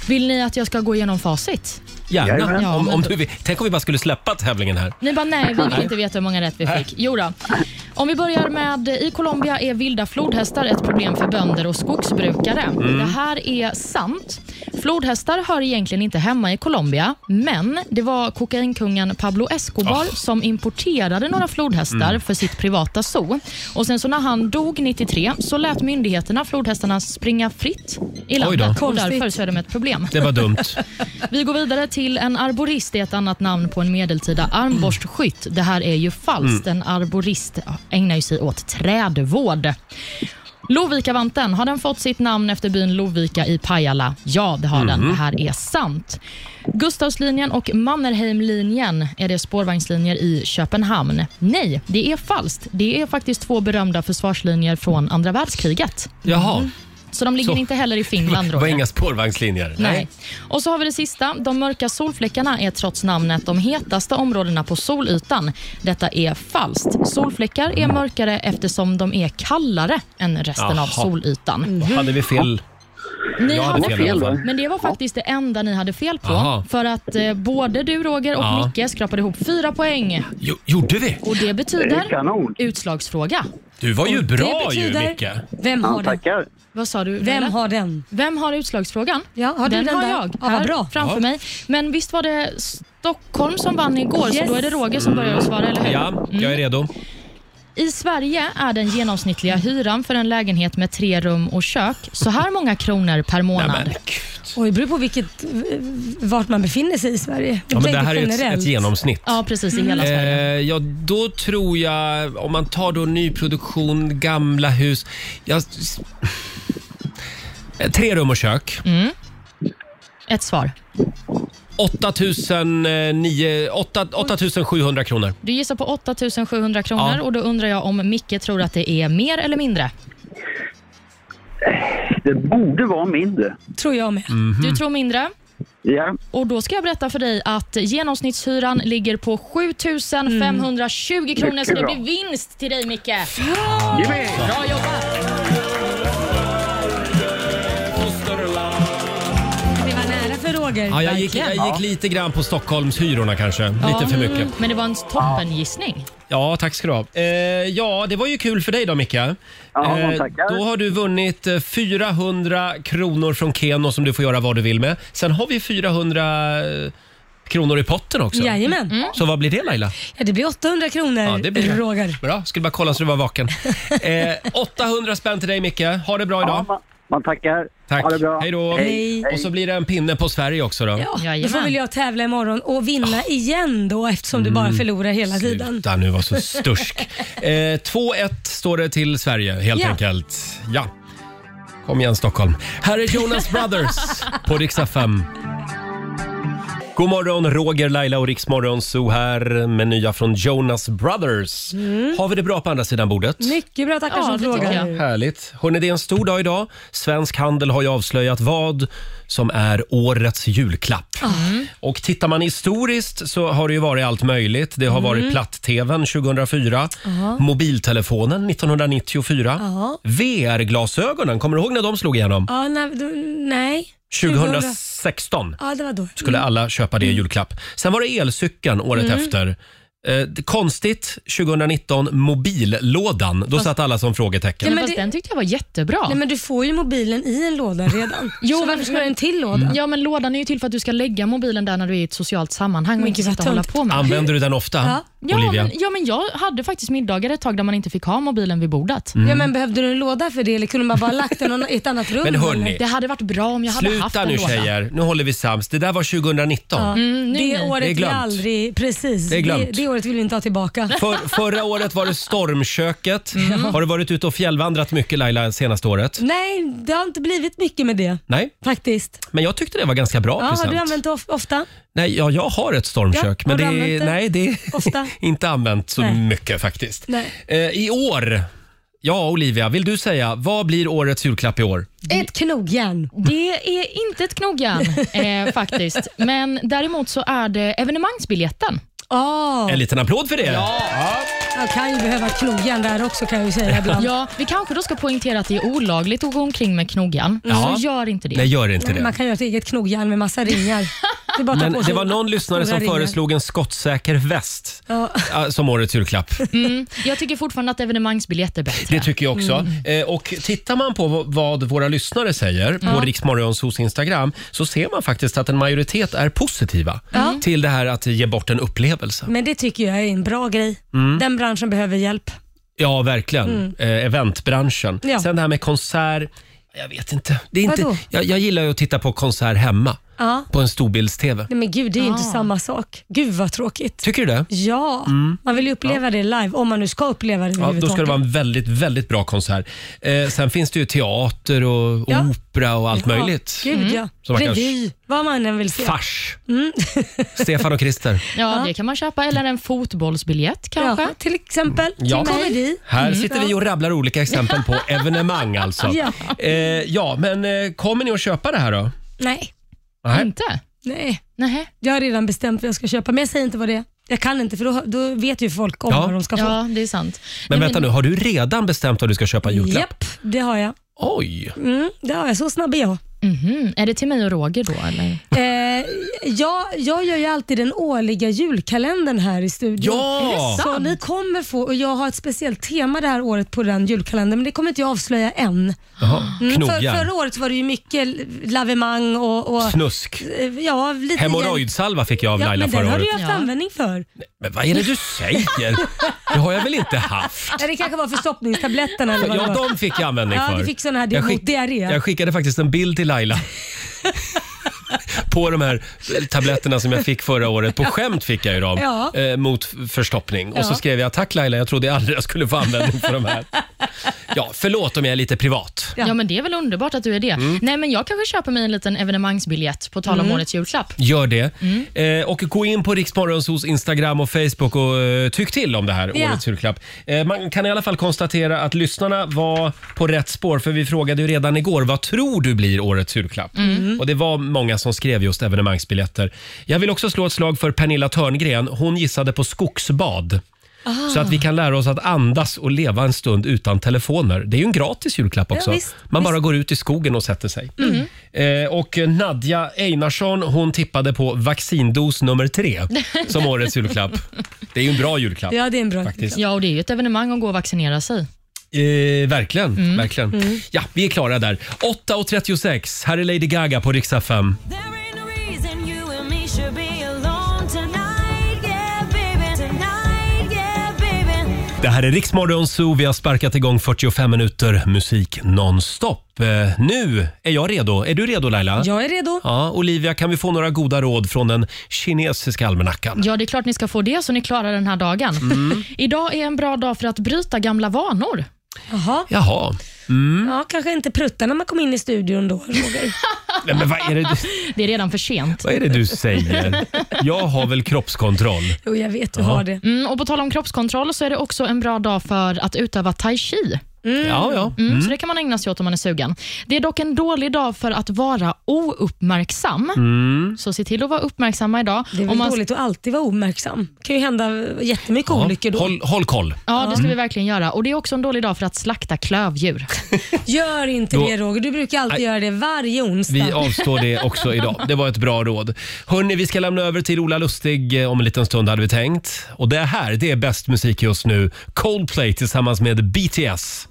S2: Vill ni att jag ska gå igenom facit?
S1: Gärna.
S2: Ja,
S1: om,
S2: men
S1: om
S2: då-
S1: du, vill- tänk om vi bara skulle släppa tävlingen här.
S2: Ni bara, nej, vi vill inte veta hur många rätt vi fick. Jo då. Om vi börjar med, i Colombia är vilda flodhästar ett problem för bönder och skogsbrukare.
S14: Mm.
S2: Det här är sant. Flodhästar hör egentligen inte hemma i Colombia, men det var kokainkungen Pablo Escobar
S14: Ah.
S2: som importerade några flodhästar
S14: Mm.
S2: för sitt privata zoo. Och sen så när han dog 93 så lät myndigheterna flodhästarna springa fritt i
S1: då.
S2: landet och
S1: Konstigt.
S2: därför så är de ett problem.
S1: Det var dumt.
S2: Mm, Vi går vidare till en arborist. Det är ett annat namn på en medeltida armborstskytt. Det här är ju falskt.
S1: Mm.
S2: En arborist ägnar ju sig åt trädvård. Lovikavanten, har den fått sitt namn efter byn Lovika i Pajala? Ja, det har den.
S14: Mhm.
S2: Det här är sant. Gustavslinjen och Mannerheimlinjen, är det spårvagnslinjer i Köpenhamn? Nej, det är falskt. Det är faktiskt två berömda försvarslinjer från andra världskriget.
S1: Jaha.
S2: Så de ligger
S1: Så-
S2: inte heller i Finland,
S1: Det var
S2: Roger.
S1: inga spårvagnslinjer.
S2: Nej. Och så har vi det sista. De mörka solfläckarna är trots namnet de hetaste områdena på solytan. Detta är falskt. Solfläckar är mörkare eftersom de är kallare än resten av
S1: Jaha.
S2: solytan.
S1: Hade vi fel?
S2: Ni
S1: Mm. Jag
S2: hade fel,
S1: i alla fall.
S2: men det var faktiskt det enda ni hade fel på.
S1: Aha.
S2: För att eh, både du Roger och
S1: Ja.
S2: Micke skrapade ihop fyra poäng.
S1: Jo, gjorde vi?
S2: Och det
S13: Eh,
S2: betyder
S1: Det är kanon.
S2: utslagsfråga.
S1: Du var ju
S2: Och
S1: bra
S2: det betyder-
S1: ju, Micke.
S3: Vem har den?
S2: Vad sa du?
S3: Vem
S2: Roger?
S3: har den?
S2: Vem har utslagsfrågan?
S3: Ja, har du
S2: den
S3: den
S2: har
S3: där?
S2: jag
S3: Ja, vad
S2: här
S3: bra.
S2: framför
S3: Ja.
S2: mig. Men visst var det Stockholm som vann igår, så då är det Roger som börjar att svara, eller hur?
S1: Ja,
S2: Mm.
S1: jag är redo.
S2: I Sverige är den genomsnittliga hyran för en lägenhet med tre rum och kök så här många kronor per månad.
S3: Oj, det beror på vilket, vart man befinner sig i Sverige.
S1: Ja, men det här är ett, ett genomsnitt.
S2: Ja, precis. I hela Sverige.
S1: Eh, ja, då tror jag, om man tar då nyproduktion, gamla hus. Jag, s- eh, tre rum och kök.
S2: Mm.
S1: Eh.
S2: Ett svar.
S1: 8 eh, 900 8 8700 kronor.
S2: Du gissar på 8 700 kronor
S1: Ja.
S2: och då undrar jag om Micke tror att det är mer eller mindre?
S13: Det borde vara mindre.
S3: Tror jag med.
S1: Mm. Mhm.
S2: Du tror mindre?
S13: Ja.
S2: Och Då ska jag berätta för dig att genomsnittshyran ligger
S3: Mm.
S2: på 7 520 kronor, så det
S13: Mycket
S2: blir vinst till dig, Micke.
S13: Bra
S2: jobbat!
S3: Det var nära för Roger.
S1: Ja, jag, gick,
S3: verkligen.
S1: jag gick lite grann på Stockholmshyrorna kanske. Lite för mycket.
S2: Men det var en toppengissning.
S1: Ja, tack ska du ha. Eh, ja, det var ju kul för dig då, Micke. Ja,
S13: men tackar.
S1: Då har du vunnit eh, 400 kronor från Keno som du får göra vad du vill med. Sen har vi 400 kronor i potten också.
S3: Jajamän.
S1: Så vad blir det Laila?
S3: Ja, det blir 800 kronor,
S1: Ja, det blir det.
S3: Eh, Roger.
S1: Bra, skulle bara kolla så du var vaken. Eh, 800 spänn till dig Micke. Ha det bra idag. man,
S13: tackar.
S1: Tack.
S13: Ha det bra.
S1: Hej då.
S3: Hej.
S1: Och så blir det en pinne på Sverige också då.
S3: Ja, då får väl jag tävla imorgon och vinna igen då eftersom du bara
S1: Mm.
S3: förlorar hela tiden.
S1: Sluta nu var så stursk. Eh, 2-1 står det till Sverige helt
S3: Ja.
S1: enkelt. Ja. Kom igen Stockholm. Här är Jonas Brothers på riksdag 5. God morgon, Roger, Laila och Riksmorgon Zoo här med nya från Jonas Brothers.
S3: Mm.
S1: Har vi det bra på andra sidan bordet?
S3: Mycket bra, tackar
S2: Ja,
S3: som
S2: det tycker
S3: frågar.
S1: Härligt. Hörrni, det är en stor dag idag. Svensk Handel har ju avslöjat vad som är årets julklapp.
S3: Mm.
S1: Och tittar man historiskt så har det ju varit allt möjligt. Det
S3: Mm.
S1: har varit platt-tvn 2004,
S2: Ja.
S1: mobiltelefonen 1994,
S3: Ja.
S1: VR-glasögonen, kommer du ihåg när de slog igenom?
S3: Ja, nej, då- nej.
S1: 2016
S3: Ja, det var då.
S1: skulle alla köpa det i julklapp. Sen var det elcykeln året
S3: Mm.
S1: efter. Eh, konstigt, 2019, mobillådan. Då
S2: Fast-
S1: satt alla som frågetecken.
S2: Men fast den tyckte jag var jättebra.
S3: Nej, men du får ju mobilen i en låda redan. jo, så varför ska du ha en till låda?
S2: Ja, men lådan är ju till för att du ska lägga mobilen där när du är i ett socialt sammanhang och
S3: Men
S2: inte
S3: gud, vad
S2: sitta och hålla
S3: tungt.
S2: på med
S1: Använder du den ofta,
S2: Ja
S1: Olivia?
S2: men, ja, men jag hade faktiskt middagar ett tag där man inte fick ha mobilen vid bordet.
S1: Mm. Ja,
S3: men behövde du en låda för det eller kunde man bara lagt den i ett annat rum?
S1: Men hörni, eller?
S2: Det hade varit bra om jag hade haft
S1: Sluta
S2: en
S1: nu
S2: låda.
S1: tjejer, nu håller vi sams. Det där var 2019.
S3: Ja. det
S2: nej.
S1: Det Mm, är
S3: året vi
S1: glömt.
S3: aldrig... Precis.
S1: Det är glömt.
S3: Det, det året vill vi inte ha tillbaka.
S1: För, förra året var det stormköket.
S3: Mm.
S1: Har du varit ute och fjällvandrat mycket Laila senaste året?
S3: Nej, det har inte blivit mycket med det
S1: Nej,
S3: faktiskt.
S1: men jag tyckte det var ganska bra
S3: Ja, har
S1: present.
S3: du använt det of- ofta?
S1: Nej, ja, jag har ett stormkök,
S3: Ja,
S1: men
S3: har
S1: det
S3: du
S1: är,
S3: använt det?
S1: nej, det är
S3: Ofta?
S1: inte använt så
S3: Nej.
S1: mycket faktiskt.
S3: Nej.
S1: Eh, I år, ja Olivia, vill du säga, vad blir årets julklapp i år?
S3: Ett knogjärn.
S2: Det är inte ett knogjärn eh, faktiskt. Men däremot så är det evenemangsbiljetten.
S3: Oh.
S1: En liten applåd för det.
S3: Jag kan ju behöva knogjärn där också kan jag ju säga ibland.
S2: Ja, vi kanske då ska poängtera att det är olagligt att gå omkring med knogjärn.
S1: Ja.
S2: Så gör inte det.
S1: Nej, gör inte det.
S3: Man kan göra ett eget knogjärn med massa ringar. Det är bara att ta
S1: Men
S3: på
S1: det
S3: sig
S1: var någon lyssnare
S3: stora
S1: som
S3: ringar.
S1: föreslog en skottsäker väst
S3: Ja.
S1: eh, som årets julklapp.
S2: Mm, jag tycker fortfarande att evenemangsbiljetter är bättre.
S1: Det tycker jag också.
S3: Mm.
S1: Eh, och tittar man på v- vad våra lyssnare säger på
S2: Ja.
S1: Riksmorgonsos Instagram så ser man faktiskt att en majoritet är positiva
S3: Ja.
S1: till det här att ge bort en upplevelse.
S3: Men det tycker jag är en bra grej.
S1: Mm.
S3: Den branschen behöver hjälp.
S1: Ja, verkligen.
S3: Mm.
S1: Eh, eventbranschen.
S3: Ja.
S1: Sen det här med konsert. Jag vet inte. Det är inte
S3: Vadå?
S1: jag, jag gillar ju att titta på konsert hemma
S3: Ja.
S1: på en storbilds-tv.
S3: Nej, men gud, det är ju inte
S2: Ah.
S3: samma sak. Gud vad tråkigt.
S1: Tycker du det?
S3: Ja,
S1: Mm.
S3: man vill ju uppleva det live om man nu ska uppleva det
S1: Ja, då ska det vara en väldigt, väldigt bra konsert. Eh, sen finns det ju teater och
S3: Ja.
S1: opera och allt
S3: Ja,
S1: möjligt.
S3: Gud
S1: Mm.
S3: ja.
S1: Som man kan-
S3: Revy, vad man än vill se.
S1: Fars.
S3: Mm.
S1: Stefan och Christer.
S2: Ja, det kan man köpa. Eller en fotbollsbiljett kanske.
S3: till exempel.
S1: Ja. Här sitter vi och rabblar olika exempel på evenemang alltså.
S3: Mm. Ja.
S1: Eh, ja, men eh, kommer ni att köpa det här då?
S3: Nej, Mm.
S1: Nej.
S2: Inte?
S3: nej.
S2: Nej.
S3: Jag har redan bestämt vad jag ska köpa, men jag säger inte vad det är. Jag kan inte, för då, då vet ju folk om
S1: Ja.
S3: vad de ska få.
S2: Ja, det är sant.
S1: Men vänta nu, har du redan bestämt vad du ska köpa i julklapp?
S3: Mm. Japp, det har jag.
S1: Oj!
S3: Mm, det har jag. Så snabb är jag.
S2: Mhm. Är det till mig och Roger då? Eller?
S3: Eh, jag, jag gör ju alltid den årliga julkalendern här i studion.
S14: Ja! Är det
S3: Så
S14: sant?
S3: ni kommer få, och jag har ett speciellt tema det här året på den julkalendern, men det kommer inte jag avslöja än.
S1: Jaha,
S3: Mm, för,
S1: knogjärn.
S3: förra året var det ju mycket lavemang och... och
S1: Snusk.
S3: Ja, lite
S1: Hemorrojdsalva fick jag av
S3: Ja,
S1: Laila
S3: men den
S1: förra
S3: har du
S1: året.
S3: ju haft användning för.
S1: Men vad är det du säger? Det har jag väl inte haft?
S3: Nej, det kanske var förstoppningstabletterna eller vad
S1: Ja,
S3: det var.
S1: de fick jag användning
S3: Ja,
S1: för.
S3: du fick såna här, det är
S1: jag,
S3: mot diarré.
S1: jag skickade faktiskt en bild till Laila. på de här eh, tabletterna som jag fick förra året. På skämt fick jag ju dem.
S14: Ja.
S1: Eh, mot f- förstoppning. Och så
S14: Ja.
S1: skrev jag “Tack Laila, jag trodde aldrig jag skulle få användning för de här”. Ja, förlåt om jag är lite privat.
S2: Ja. men det är väl underbart att du är det.
S1: Mm.
S2: Nej, men jag kanske köper mig en liten evenemangsbiljett på tal om
S1: Mm.
S2: årets julklapp.
S1: Gör det.
S14: Mm.
S1: Eh, och gå in på Riksmorgonsos Instagram och Facebook och eh, tyck till om det här
S2: Ja.
S1: årets julklapp. Eh, man kan i alla fall konstatera att lyssnarna var på rätt spår för vi frågade ju redan igår vad tror du blir årets julklapp?
S14: Mm.
S1: Och det var många som skrev just evenemangsbiljetter. Jag vill också slå ett slag för Pernilla Törngren. Hon gissade på skogsbad.
S14: Ah.
S1: Så att vi kan lära oss att andas och leva en stund utan telefoner. Det är ju en gratis julklapp också.
S14: Ja, visst,
S1: Man bara går ut i skogen och sätter sig.
S14: Mm.
S1: Eh, och Nadja Einarsson hon tippade på vaccindos nummer tre som årets julklapp. Det är ju en bra julklapp. faktiskt.
S2: Ja, och det är ju ett evenemang att gå och vaccinera sig.
S1: Eh, verkligen. verkligen.
S2: Mm.
S1: Ja, vi är klara där. 8.36, här är Lady Gaga på riksdag 5. Det här är Riksmorgon Zoo. Vi har sparkat igång 45 minuter musik nonstop. Eh, nu är jag redo. Är du redo Laila?
S3: Jag är redo.
S1: Ja, Olivia, kan vi få några goda råd från den kinesiska almanackan?
S2: Ja, det är klart ni ska få det så ni klarar den här dagen.
S1: Mm.
S2: Idag är en bra dag för att bryta gamla vanor.
S3: Jaha.
S1: Jaha. Mm.
S3: Ja, kanske inte prutta när man kom in i studion då, Roger.
S1: Nej, men vad är, det du,
S2: Det är redan för sent.
S1: vad är det du säger? Jag har väl kroppskontroll?
S3: Jo, jag vet
S1: du Ja. har det.
S2: Mm, och på tal om kroppskontroll så är det också en bra dag för att utöva tai chi.
S1: Ja, ja.
S2: Mm.
S1: Mm.
S2: Så det kan man ägna sig åt om man är sugen. Det är dock en dålig dag för att vara ouppmärksam.
S3: Mm.
S2: Så se till att vara uppmärksamma idag.
S3: Det är väl
S2: Om man-
S3: dåligt att alltid vara omärksam. Det kan ju hända jättemycket
S1: Ja.
S3: olyckor då.
S1: Håll, håll koll.
S2: Ja, det ska
S1: Mm.
S2: vi verkligen göra. Och Det är också en dålig dag för att slakta klövdjur.
S3: Gör inte
S1: Då-
S3: det Roger, du brukar alltid
S1: Nej.
S3: göra det varje onsdag.
S1: Vi avstår det också idag. Det var ett bra råd. Hörni, vi ska lämna över till Ola Lustig eh, om en liten stund hade vi tänkt. Och det här, det är bäst musik just nu. Coldplay tillsammans med BTS.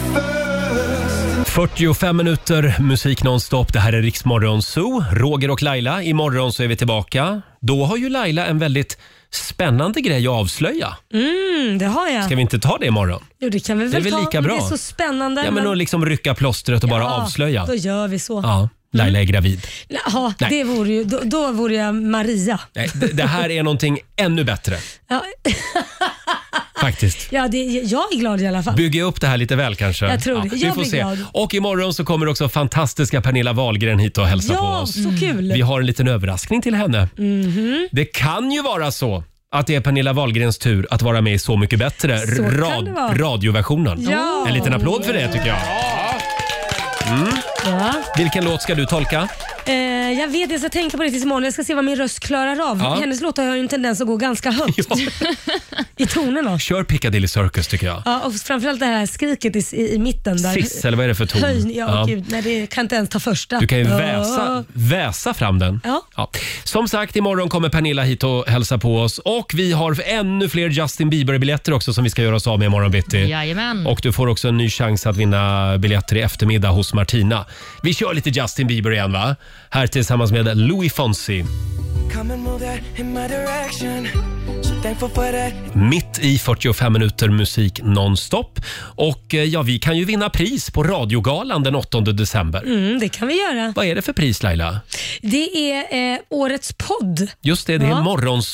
S14: First.
S1: 45 minuter musik nonstop. Det här är Riksmorgon Zoo. Roger och Laila, imorgon så är vi tillbaka. Då har ju Laila en väldigt spännande grej att avslöja.
S3: Mm, det har jag.
S1: Ska vi inte ta det imorgon?
S3: Jo, det kan vi
S1: Det är
S3: väl
S1: väl
S3: ta
S1: lika
S3: om
S1: bra.
S3: det är så spännande.
S1: Ja, men att liksom rycka plåstret och bara
S3: Ja,
S1: avslöja.
S3: Då gör vi så.
S1: Ja, Laila är gravid.
S3: Ja,
S1: Nej.
S3: det vore ju, då, då vore jag Maria.
S1: Nej, det, det här är någonting ännu bättre
S3: Ja,
S1: faktiskt.
S3: ja det, jag är glad i alla fall.
S1: Bygga upp det här lite väl kanske.
S3: Jag tror det.
S1: vi
S3: Jag
S1: får
S3: blir
S1: se.
S3: glad.
S1: Och imorgon så kommer också fantastiska Pernilla Wahlgren hit och hälsa
S3: Ja,
S1: på oss. Mm.
S3: så kul.
S1: Vi har en liten överraskning till henne.
S3: Mhm.
S1: Det kan ju vara så att det är Pernilla Wahlgrens tur att vara med i Så mycket bättre,
S14: Så kan
S1: rad-
S14: det vara.
S1: radioversionen.
S14: Ja.
S1: En liten applåd för det tycker jag. Mm.
S3: Ja.
S1: Vilken låt ska du tolka?
S3: Eh, jag vet, jag ska tänka på det tills imorgon. Jag ska se vad min röst klarar av.
S1: Ja.
S3: Hennes låtar har ju en tendens att gå ganska högt i tonerna.
S1: Kör Piccadilly Circus tycker jag.
S3: Ja, och framförallt det här skriket i, i, i mitten. Där.
S1: Sissel, vad är det för ton?
S3: Höj, ja,
S1: Ja.
S3: Gud, nej, det kan inte ens ta första.
S1: Du kan ju
S3: Ja.
S1: väsa, väsa fram den.
S3: Ja.
S1: Som sagt, imorgon kommer Pernilla hit och hälsa på oss. Och vi har ännu fler Justin Bieber-biljetter också som vi ska göra oss av med imorgon bitti.
S2: Jajamän.
S1: Och du får också en ny chans att vinna biljetter i eftermiddag hos Martina. Vi kör lite Justin Bieber igen va? Här tillsammans med Louis Fonsi.
S7: Come and move that in my direction. So thankful for that.
S1: Mitt i 45 minuter musik nonstop. Och eh, ja, vi kan ju vinna pris på radiogalan den 8 december.
S3: Mm, det kan vi göra.
S1: Vad är det för pris Laila?
S3: Det är eh, årets podd.
S1: Just det, det är
S3: Ja.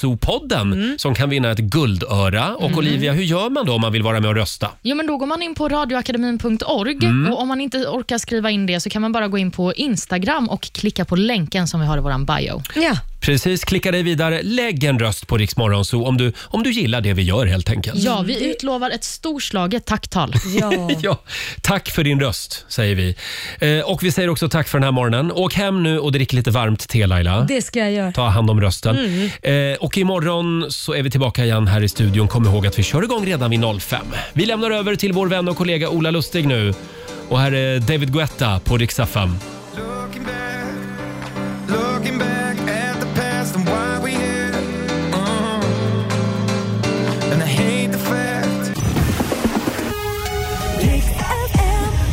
S1: Morgonzoo-podden som kan vinna ett guldöra. Och
S2: Mm.
S1: Olivia, hur gör man då om man vill vara med och rösta?
S2: Jo, men då går man in på radioakademin.org
S1: Mm.
S2: och om man inte orkar skriva in det så kan man bara gå in på Instagram och klicka på länken som vi har i vår bio.
S3: Ja.
S1: Precis, klicka dig vidare. Lägg en röst på Riksmorgon så om du, om du gillar det vi gör helt enkelt.
S2: Ja,
S3: Mm.
S2: vi utlovar ett storslaget tacktal.
S1: Ja, tack för din röst, säger vi. Eh, och vi säger också tack för den här morgonen. Åk hem nu och drick lite varmt te, Laila.
S3: Det ska jag göra.
S1: Ta hand om rösten. Eh, och imorgon så är vi tillbaka igen här i studion. Kom ihåg att vi kör igång redan vid 05. Vi lämnar över till vår vän och kollega Ola Lustig nu. Och här är David Guetta på Rix FM.
S14: Looking back at the past and why we here. Uh-huh. And I hate the fact.